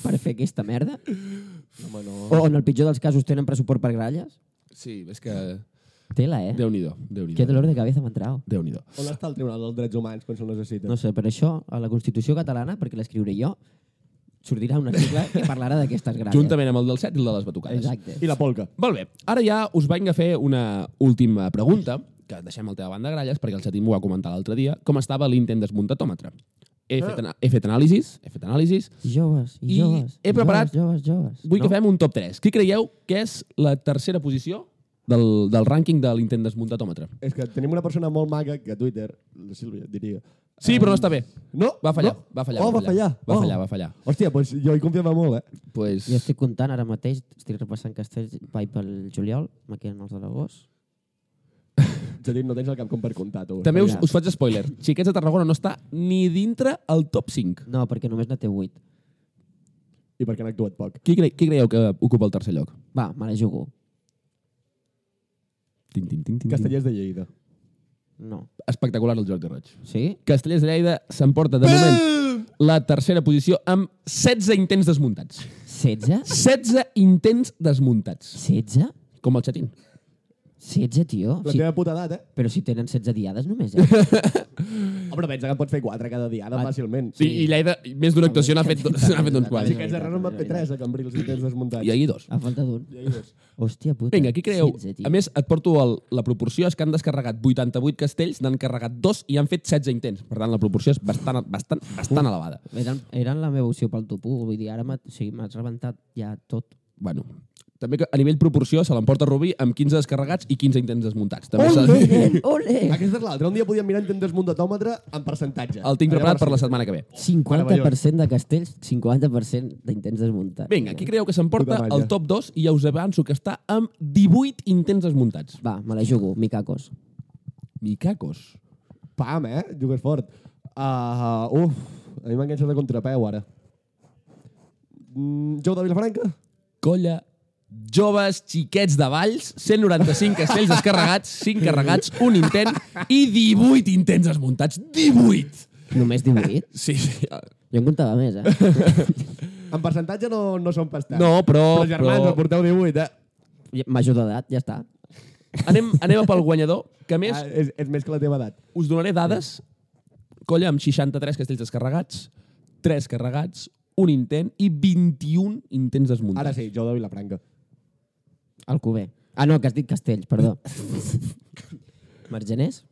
Speaker 2: per fer aquesta merda?
Speaker 3: Home, no.
Speaker 2: O, en el pitjor dels casos, tenen pressuport per gralles?
Speaker 1: Sí, és que...
Speaker 2: Tela, eh?
Speaker 1: Déu-n'hi-do, déu nhi
Speaker 2: Que dolor de cabeza m'ha entrat.
Speaker 1: Déu-n'hi-do.
Speaker 3: On està el Tribunal dels Drets Humans quan se'l necessita?
Speaker 2: No sé, per això, a la Constitució catalana, perquè l'escriuré jo, sortirà un article que parlarà d'aquestes gralles.
Speaker 1: Juntament amb el del set i el de les batucades.
Speaker 2: Exacte.
Speaker 3: I la polca.
Speaker 1: Molt bé, ara ja us vaig a fer una última pregunta, que deixem el teu banda de gralles, perquè el Satim m'ho va comentar l'altre dia, com estava l'intent desmuntatòmetre. He fet, ana- he fet anàlisis, he fet anàlisis.
Speaker 2: Joves, i
Speaker 1: I
Speaker 2: joves.
Speaker 1: he preparat-
Speaker 2: Joves, joves, joves.
Speaker 1: Vull no. que fem un top 3. Qui creieu que és la tercera posició del, del rànquing de l'intent desmuntatòmetre?
Speaker 3: És que tenim una persona molt maca que a Twitter, la Sílvia, diria...
Speaker 1: Sí, però no està bé.
Speaker 3: No?
Speaker 1: Va fallar,
Speaker 3: no?
Speaker 1: va fallar.
Speaker 3: Oh, va fallar.
Speaker 1: Va
Speaker 3: Oh.
Speaker 1: fallar, va fallar.
Speaker 3: Hòstia, doncs jo hi confiava molt, eh?
Speaker 1: Pues...
Speaker 2: Jo estic comptant ara mateix, estic repassant castells, vaig pel juliol, me queden els de l'agost.
Speaker 3: És a dir, no tens el cap com per comptar, tu.
Speaker 1: També us,
Speaker 3: Ja.
Speaker 1: us faig spoiler. Xiquets de Tarragona no està ni dintre el top 5.
Speaker 2: No, perquè només ne té 8.
Speaker 3: I perquè han actuat poc.
Speaker 1: Qui, cre qui creieu que ocupa el tercer lloc?
Speaker 2: Va, me la jugo.
Speaker 1: Tin, tin, tin, tin, tin.
Speaker 3: Castellers de Lleida.
Speaker 2: No.
Speaker 1: Espectacular el joc de roig.
Speaker 2: Sí?
Speaker 1: Castellers de Lleida s'emporta de moment la tercera posició amb 16 intents desmuntats.
Speaker 2: 16?
Speaker 1: 16 intents desmuntats.
Speaker 2: 16?
Speaker 1: Com el xatín.
Speaker 2: 16, tio?
Speaker 3: La
Speaker 2: Sí,
Speaker 3: teva puta edat, eh?
Speaker 2: però si tenen 16 diades només, eh?
Speaker 3: Oh, però pensa que en pots fer quatre cada diada fàcilment.
Speaker 1: Ah, Sí, I Lleida, més d'una actuació n'ha fet, n'ha fet uns
Speaker 3: Si
Speaker 1: quants.
Speaker 3: aquests errors en van fer tres, a Cambrils, i tens desmuntats.
Speaker 1: I ahir dos.
Speaker 2: A falta d'un. Hòstia puta.
Speaker 1: Vinga, qui creieu?
Speaker 2: 16, tio.
Speaker 1: A més, et porto el, la proporció. És que han descarregat 88 castells, n'han carregat dos i han fet 16 intents. Per tant, la proporció és bastant, bastant, bastant elevada.
Speaker 2: Eren, eren la meva opció pel top 1, vull dir, ara m'ha- o sigui, m'has rebentat ja tot.
Speaker 1: Bueno, també que a nivell proporció se l'emporta Rubí amb 15 descarregats i 15 intents desmuntats. També s'ha de dir.
Speaker 2: Ole, ole!
Speaker 3: Aquesta és l'altra. Un dia podíem mirar intent desmuntatòmetre en percentatge.
Speaker 1: El tinc preparat per la setmana que ve.
Speaker 2: 50% de castells, 50% d'intents desmuntats.
Speaker 1: Vinga, qui creieu que s'emporta
Speaker 3: Puta malla.
Speaker 1: el top 2 i ja us avanço que està amb 18 intents desmuntats.
Speaker 2: Va, me la jugo, Mikakos.
Speaker 1: Micacos.
Speaker 3: Pam, eh? Jugues fort. Uh, uf, a mi m'ha enganxat de contrapeu, ara. Mm, Jou de Vilafranca?
Speaker 1: Colla joves xiquets de Valls, 195 castells descarregats, 5 carregats, un intent i 18 intents desmuntats. 18!
Speaker 2: Només 18?
Speaker 1: Sí, sí.
Speaker 2: Jo en comptava més, eh?
Speaker 3: En percentatge no, no són pas tant.
Speaker 1: No, però...
Speaker 3: Però, germans, però... porteu 18, eh?
Speaker 2: Major d'edat, ja està.
Speaker 1: Anem, anem a pel guanyador, que a més
Speaker 3: Ah, és, és més que la teva edat.
Speaker 1: us donaré dades. Colla amb 63 castells descarregats, 3 carregats, un intent i 21 intents desmuntats.
Speaker 3: Ara sí, Jou de Vilafranca.
Speaker 2: El cuber. Ah, no, que has dit castells, perdó. Margeners?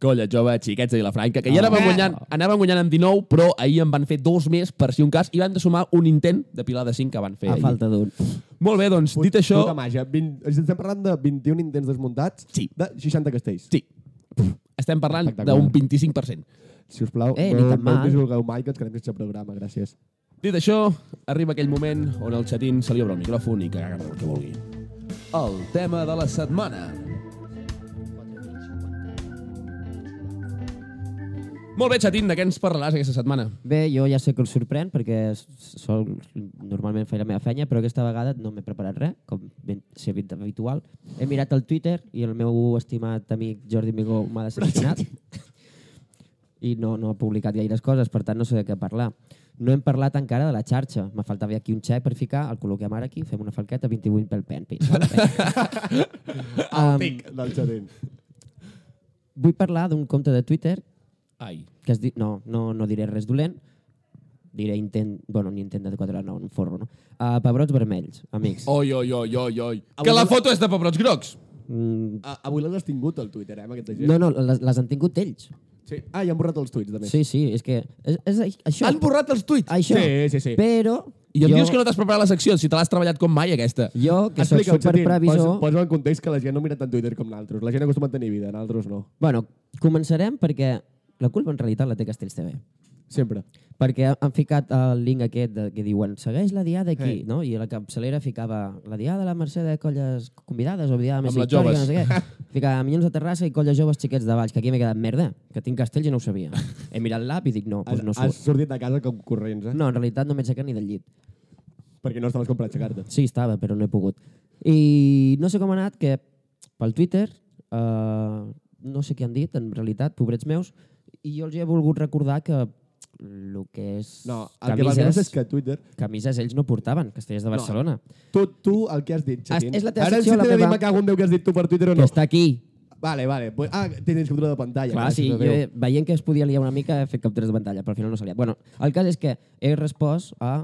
Speaker 1: Colla jove, xiquets de Vilafranca,
Speaker 3: Ah.
Speaker 1: que ja anaven guanyant, anaven guanyant amb 19, però ahir en van fer dos més, per si un cas, i van de sumar un intent de pilar de 5 que van fer
Speaker 2: A
Speaker 1: ahir.
Speaker 2: falta d'un.
Speaker 1: Molt bé, doncs, dit això...
Speaker 3: Ah, Puta màgia. 20, estem parlant de 21 intents desmuntats
Speaker 1: Sí.
Speaker 3: de 60 castells.
Speaker 1: Sí. Estem parlant
Speaker 3: Espectacular.
Speaker 1: d'un 25%.
Speaker 3: Si us plau,
Speaker 2: Eh, ni
Speaker 3: no,
Speaker 2: tan
Speaker 3: no
Speaker 2: mal.
Speaker 3: us dissolgueu mai, que ens quedem sense programa. Gràcies.
Speaker 1: Dit això, arriba aquell moment on el xatín se li obre el micròfon i que caga el que vulgui.
Speaker 4: El tema de la setmana.
Speaker 1: Molt bé, xatín, de què ens parlaràs aquesta setmana?
Speaker 2: Bé, jo ja sé que us sorprèn, perquè s- sol, normalment faig la meva feina, però aquesta vegada no m'he preparat res, com ben, ser ben habitual. He mirat el Twitter i el meu estimat amic Jordi Migó m'ha decepcionat. I no, no ha publicat gaires coses, per tant no sé de què parlar. No hem parlat encara de la xarxa. Me faltava aquí un xec per ficar, el col·loquem ara aquí, fem una falqueta, 28 pel pen. pim, pam, pam. um,
Speaker 3: Tic, del xatín.
Speaker 2: vull parlar d'un compte de Twitter
Speaker 1: Ai.
Speaker 2: que es di... no, no, no diré res dolent, diré intent, bueno, ni intent de quadrar, no, un forro, no? Uh, pebrots vermells, amics. Oh.
Speaker 1: Oi, oi, oi, oi, oi.
Speaker 3: Avui
Speaker 1: Que la
Speaker 3: no-
Speaker 1: foto és de pebrots grocs.
Speaker 2: Mm,
Speaker 3: A- Avui l'has tingut, el Twitter, eh, amb aquesta gent.
Speaker 2: no, no, les, les han tingut ells.
Speaker 3: Sí. Ah, i han borrat els tuits, de més.
Speaker 2: Sí, sí, és que... És, és ai- això.
Speaker 1: Han borrat els tuits.
Speaker 2: Això.
Speaker 3: Sí, sí, sí.
Speaker 2: Però...
Speaker 1: I em dius que no t'has preparat la secció, si te l'has treballat com mai, aquesta.
Speaker 2: Jo, que soc
Speaker 3: Explica-ho, Xatín.
Speaker 2: superprevisor...
Speaker 3: Posa, posa en context que la gent no mira tant Twitter com naltros. La gent acostuma a tenir vida, naltros no.
Speaker 2: Bueno, començarem perquè la culpa en realitat la té Castells TV.
Speaker 3: Sempre.
Speaker 2: Perquè han ficat el link aquest de, que diuen segueix la diada aquí, hey. no? I la capçalera ficava la diada de la Mercè de colles convidades o diada més
Speaker 1: Amb les
Speaker 2: històrica,
Speaker 1: joves.
Speaker 2: no sé què. Ficava Minyons de Terrassa i colles joves xiquets de Valls, que aquí m'he quedat merda, que tinc castells i no ho sabia. He mirat l'app i dic no,
Speaker 3: Has,
Speaker 2: doncs no
Speaker 3: has
Speaker 2: surt.
Speaker 3: sortit de casa com corrents, eh?
Speaker 2: No, en realitat no m'he aixecat ni del llit.
Speaker 3: Perquè no estaves com per aixecar-te.
Speaker 2: Sí, estava, però no he pogut. I no sé com ha anat, que pel Twitter, eh, no sé què han dit, en realitat, pobrets meus, i jo els hi he volgut recordar que el que és
Speaker 3: No, el que val més és que Twitter...
Speaker 2: camises ells no portaven, castellers de Barcelona.
Speaker 3: Tu, tu el que has dit, Xatín...
Speaker 2: És- és la teva
Speaker 3: Ara
Speaker 2: secció,
Speaker 3: sí
Speaker 2: la
Speaker 3: t'he de dir,
Speaker 2: meva.
Speaker 3: me cago en Déu, que has dit tu per Twitter o
Speaker 2: Que
Speaker 3: no.
Speaker 2: està aquí.
Speaker 3: Vale, vale. Pues, ah, tens captura de pantalla. eh,
Speaker 2: Clar,
Speaker 3: gràcies
Speaker 2: sí,
Speaker 3: a
Speaker 2: jo,
Speaker 3: Déu.
Speaker 2: veient que es podia liar una mica, he fet captures de pantalla, però al final no s'ha liat. Bueno, el cas és que he respost a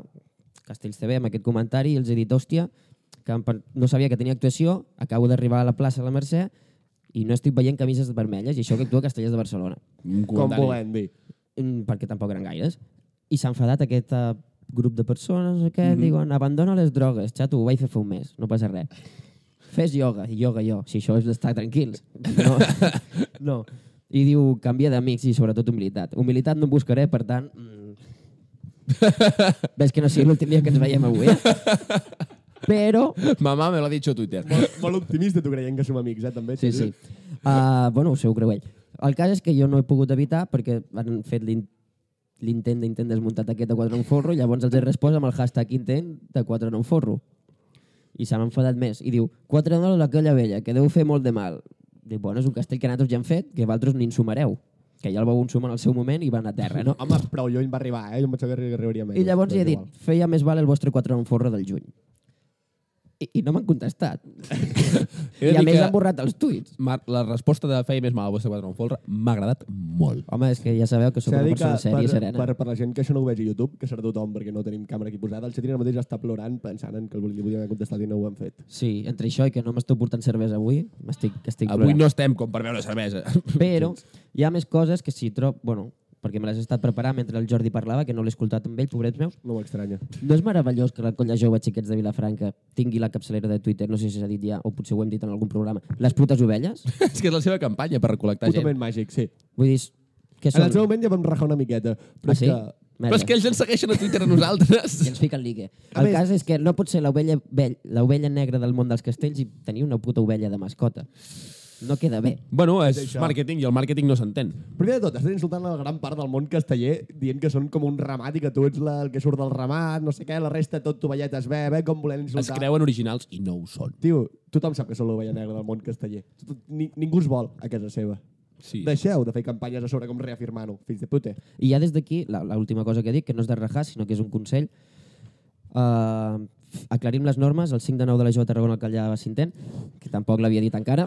Speaker 2: Castells TV amb aquest comentari i els he dit, hòstia, que em pen- no sabia que tenia actuació, acabo d'arribar a la plaça de la Mercè i no estic veient camises vermelles i això que actua a Castellers de Barcelona.
Speaker 1: Un
Speaker 3: Com
Speaker 1: comentari.
Speaker 3: volem dir.
Speaker 2: Mm, perquè tampoc eren gaires. I s'ha enfadat aquest eh, grup de persones que mm -hmm. diuen abandona les drogues, xato, ho vaig fer fa un mes, no passa res. Fes ioga, i ioga jo, si això és d'estar tranquils. No. no. I diu, canvia d'amics i sobretot humilitat. Humilitat no em buscaré, per tant... Mm. Ves que no sigui l'últim dia que ens veiem avui, eh? Però
Speaker 1: Mamá me lo ha dicho Twitter.
Speaker 3: Molt, molt optimista, tu creient que som amics, eh, també.
Speaker 2: Sí, sí. Uh, bueno, ho sé, ho creu ell. El cas és que jo no he pogut evitar perquè han fet l'in- l'intent d'intent desmuntat aquest de 4 en un forro i llavors els he respost amb el hashtag intent de 4 en un forro. I s'han enfadat més. I diu, 4 en un a la colla vella, que deu fer molt de mal. Diu, bueno, és un castell que nosaltres ja hem fet, que vosaltres ni insumareu. Que ja el vau ensumar en el seu moment i van a terra, no?
Speaker 3: Home, prou lluny va arribar, eh? Jo em pensava que arribaria menys.
Speaker 2: I llavors hi
Speaker 3: però
Speaker 2: he
Speaker 3: és
Speaker 2: dit,
Speaker 3: igual.
Speaker 2: feia més val el vostre 4 en un forro del juny. I, i no m'han contestat.
Speaker 1: He de
Speaker 2: I a
Speaker 1: dir
Speaker 2: més
Speaker 1: que-
Speaker 2: han borrat els tuits.
Speaker 1: Ma- La resposta de feia més mal al vostre quadre en folre m'ha agradat molt.
Speaker 2: Home, és que ja sabeu que sóc
Speaker 3: S'ha
Speaker 2: una
Speaker 3: de dir que
Speaker 2: persona sèria i
Speaker 3: per,
Speaker 2: serena.
Speaker 3: per, per, la gent que això no ho vegi a YouTube, que serà tothom, perquè no tenim càmera aquí posada, el Xatín ara mateix està plorant pensant en que el li podien haver contestat i no ho han fet.
Speaker 2: Sí, entre això i que no m'estic portant cervesa avui, m'estic estic
Speaker 1: Avui
Speaker 2: plorant.
Speaker 1: no estem com per veure cervesa.
Speaker 2: Però hi ha més coses que si trob... Bueno, perquè me les he estat preparant mentre el Jordi parlava, que no l'he escoltat amb ell, pobrets meus.
Speaker 3: No m'estranya.
Speaker 2: No és meravellós que la colla jove xiquets de Vilafranca tingui la capçalera de Twitter, no sé si s'ha dit ja, o potser ho hem dit en algun programa, les putes ovelles?
Speaker 1: és que és la seva campanya per recol·lectar gent.
Speaker 3: Putament màgic, sí.
Speaker 2: Vull dir, què
Speaker 3: En
Speaker 2: són?
Speaker 3: el seu moment ja vam rajar una miqueta, però
Speaker 2: Ah, sí?
Speaker 3: és que...
Speaker 1: Però és que ells ens segueixen a Twitter a nosaltres.
Speaker 2: I ens fiquen ligue.
Speaker 3: A
Speaker 2: El
Speaker 3: més-
Speaker 2: cas és que no pot ser l'ovella vell- l'ovella negra del món dels castells i tenir una puta ovella de mascota. No queda bé.
Speaker 1: bueno, és
Speaker 3: això.
Speaker 1: màrqueting i el màrqueting no s'entén.
Speaker 3: Primer de tot, estan insultant la gran part del món casteller dient que són com un ramat i que tu ets la, el que surt del ramat, no sé què, la resta tot tovalletes, bé, bé, com volem
Speaker 1: Es
Speaker 3: insultar.
Speaker 1: creuen originals i no ho són.
Speaker 3: Tio, tothom sap que són l'ovella negra del món casteller. Tot- Ni, ningú es vol a casa seva.
Speaker 1: Sí.
Speaker 3: Deixeu de fer campanyes a sobre com reafirmar-ho, fills de puta.
Speaker 2: I ja des d'aquí, la- l'última cosa que dic, que no és de rajar, sinó que és un consell, uh, aclarim les normes, el 5 de 9 de la Jove Tarragona al Callà va cintent, que tampoc l'havia dit encara,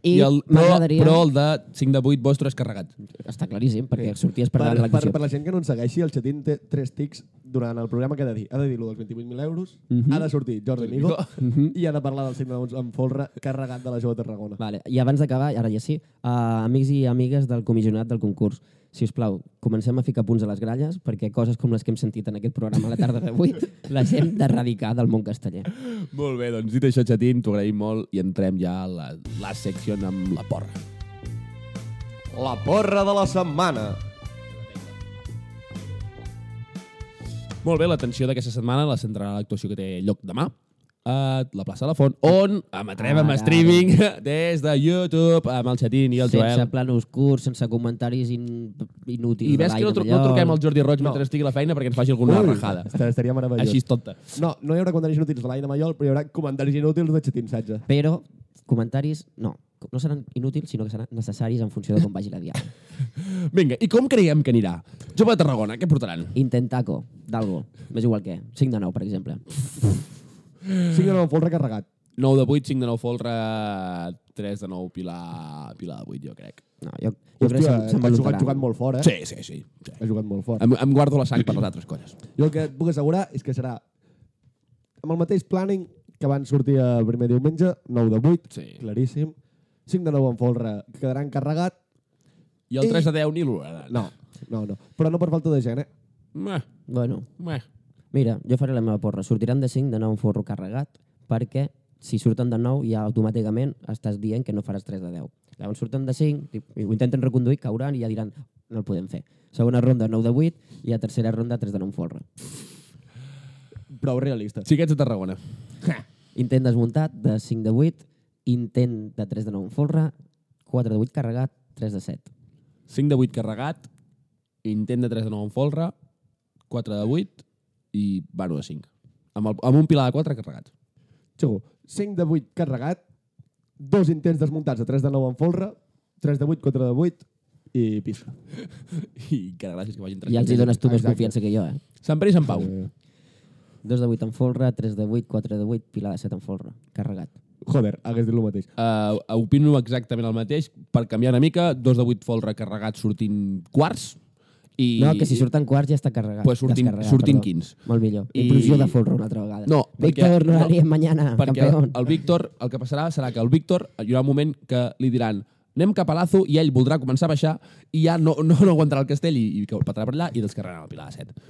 Speaker 2: i,
Speaker 1: I el, però,
Speaker 2: m'agradaria...
Speaker 1: però el de 5 de 8 vostre és carregat.
Speaker 2: Està claríssim, perquè sí. sorties per,
Speaker 3: Per,
Speaker 2: davant de
Speaker 3: per, per,
Speaker 2: l'acció.
Speaker 3: la gent que no ens segueixi, el Xatín té tres tics durant el programa cada dia. Ha de dir lo dels 28.000 euros,
Speaker 1: Mhm.
Speaker 3: ha de sortir Jordi Migo i ha de parlar del signe d'ons amb folre carregat de la jove Tarragona.
Speaker 2: Vale. I abans d'acabar, ara ja sí, uh, amics i amigues del comissionat del concurs, si us plau, comencem a ficar punts a les gralles perquè coses com les que hem sentit en aquest programa a la tarda d'avui les hem d'erradicar del món casteller.
Speaker 1: Molt bé, doncs dit això, Xatín, t'ho agraïm molt i entrem ja a la, la secció amb la porra.
Speaker 3: La porra de la setmana.
Speaker 1: Molt bé, l'atenció d'aquesta setmana la centrarà l'actuació que té lloc demà a la plaça de la Font, on emetrem amb
Speaker 2: Ara,
Speaker 1: streaming des de YouTube amb el Xatín i el
Speaker 2: Sense
Speaker 1: Joel.
Speaker 2: planos curts, sense comentaris in... inútils.
Speaker 1: I ves que no, tru no truquem al Jordi Roig no. mentre estigui a la feina perquè ens faci alguna Ui, rajada.
Speaker 3: Estaria, estaria meravellós.
Speaker 1: Així és tonta.
Speaker 3: No, no hi haurà comentaris inútils de l'Aina Mayol, però hi haurà comentaris inútils de Xatín Satge.
Speaker 2: Però comentaris, no, no seran inútils, sinó que seran necessaris en funció de com vagi la diada.
Speaker 1: Vinga, i com creiem que anirà? Jove de Tarragona, què portaran?
Speaker 2: Intentaco, d'algo, més igual que 5 de 9, per exemple.
Speaker 3: Signe d'on folre carregat.
Speaker 1: 9 de 8, 5 de 9 folre, 3 de 9 Pilar, Pilar de 8, jo crec.
Speaker 2: No, jo, jo crec que
Speaker 3: Hòstia,
Speaker 2: se'n- se'n
Speaker 3: ha jugat,
Speaker 2: valoraran.
Speaker 3: jugat molt fort, eh?
Speaker 1: Sí, sí, sí. sí.
Speaker 3: Ha jugat molt fort.
Speaker 1: Em, em guardo la sang per les altres coses.
Speaker 3: Jo el que et puc assegurar és que serà amb el mateix planning que van sortir el primer diumenge, 9 de 8,
Speaker 1: Sí.
Speaker 3: claríssim. 5 de 9 en folre, que quedarà encarregat.
Speaker 1: I el
Speaker 3: I-
Speaker 1: 3 de 10 ni l'1.
Speaker 3: No, no, no. Però no per falta de gent, eh?
Speaker 1: Meh,
Speaker 2: Bueno,
Speaker 1: meh.
Speaker 2: mira, jo faré la meva porra. Sortiran de 5 de 9 un forro carregat perquè si surten de 9 ja automàticament estàs dient que no faràs 3 de 10. Llavors surten de 5, i ho intenten reconduir, cauran i ja diran no el podem fer. Segona ronda 9 de 8 i a tercera ronda 3 de 9 forra.
Speaker 3: Prou realista.
Speaker 1: Sí que ets de Tarragona.
Speaker 2: Intent desmuntat de 5 de 8, intent de 3 de 9 en folre, 4 de 8 carregat, 3 de 7.
Speaker 1: 5 de 8 carregat, intent de 3 de 9 en folre, 4 de 8 i vano de 5. Amb, el, amb un pilar de 4 carregat.
Speaker 3: Xego, 5 de 8 carregat, dos intents desmuntats de 3 de 9 en folre, 3 de 8, 4 de 8 i pista.
Speaker 1: I que gràcies que vagin tres.
Speaker 2: I els hi dones tu més
Speaker 3: Exacte.
Speaker 2: confiança que jo, eh?
Speaker 1: Sant Pere i Sant Pau.
Speaker 3: Eh,
Speaker 2: 2 de 8 en folre, 3 de 8, 4 de 8, pilar de 7 en folre, carregat.
Speaker 3: Joder, hagués dit el mateix.
Speaker 1: Uh, opino exactament el mateix. Per canviar una mica, dos de vuit folre carregat sortint quarts. I...
Speaker 2: No, que si surten quarts ja està carregat.
Speaker 1: Pues surtin-
Speaker 2: descarregat,
Speaker 1: surtin
Speaker 2: perdó.
Speaker 1: 15.
Speaker 2: Molt millor.
Speaker 1: I-
Speaker 2: I... Implosió de folro una altra vegada.
Speaker 1: No, perquè-
Speaker 2: Víctor, no,
Speaker 1: no,
Speaker 2: no la mañana,
Speaker 1: Perquè
Speaker 2: campeón.
Speaker 1: el Víctor, el que passarà serà que el Víctor hi haurà un moment que li diran anem cap a Lazo i ell voldrà començar a baixar i ja no, no, no aguantarà el castell i, i que patarà per allà i descarregarà el Pilar de set.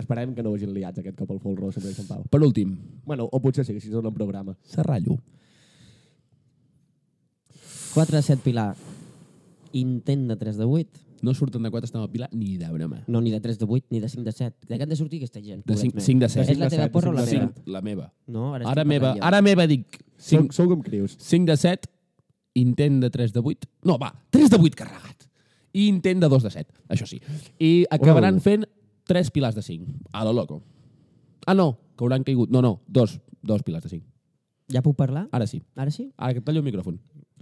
Speaker 3: Esperem que no vagin liats aquest cop al folro, sempre i Sant Pau.
Speaker 1: Per últim,
Speaker 3: Bueno, o potser sí, que si no en programa.
Speaker 1: Serrallo.
Speaker 2: 4 de 7 Pilar. Intent de 3 de 8.
Speaker 1: No surten de 4 estan al Pilar ni de broma.
Speaker 2: No, ni de 3 de 8, ni de 5 de 7. De què han de sortir aquesta gent?
Speaker 1: De
Speaker 2: Pobret
Speaker 1: 5,
Speaker 2: meu.
Speaker 1: 5 de 7.
Speaker 2: És la teva porra o la meva?
Speaker 1: La meva.
Speaker 2: No, ara,
Speaker 1: Ara
Speaker 2: estic
Speaker 1: meva,
Speaker 2: parlant jo.
Speaker 1: ara meva dic.
Speaker 3: Sou,
Speaker 1: 5,
Speaker 3: sou com crius.
Speaker 1: 5 de 7, intent de 3 de 8. No, va, 3 de 8 carregat. I intent de 2 de 7, això sí. I acabaran
Speaker 3: Oh.
Speaker 1: fent 3 pilars de 5, a lo loco. Ah, no, que hauran caigut. No, no, dos, dos pilars de 5.
Speaker 2: Ja puc parlar?
Speaker 1: Ara sí.
Speaker 2: Ara sí?
Speaker 1: Ara que et tallo el micròfon.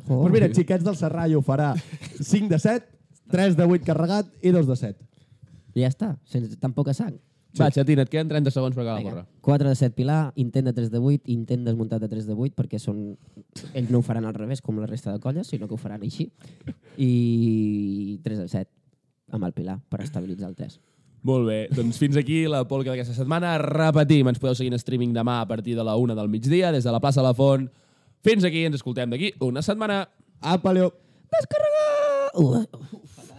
Speaker 2: Oh.
Speaker 3: Pues mira, Xiquets del Serrallo farà 5 de 7, 3 de 8 carregat i 2 de 7.
Speaker 2: Ja està, sense tan poca sang.
Speaker 1: Va, xatina, et queden 30 segons per acabar la porra.
Speaker 2: 4 de 7 Pilar, intent de 3 de 8, intent desmuntat de 3 de 8, perquè són... ells no ho faran al revés, com la resta de colles, sinó que ho faran així. I 3 de 7 amb el Pilar, per estabilitzar el 3.
Speaker 1: Molt bé, doncs fins aquí la polca d'aquesta setmana. Repetim, ens podeu seguir en streaming demà a partir de la una del migdia, des de la plaça La Font. Fins aquí, ens escoltem d'aquí una setmana.
Speaker 3: Apa, Leo.
Speaker 2: Descarregar! Uf, uf,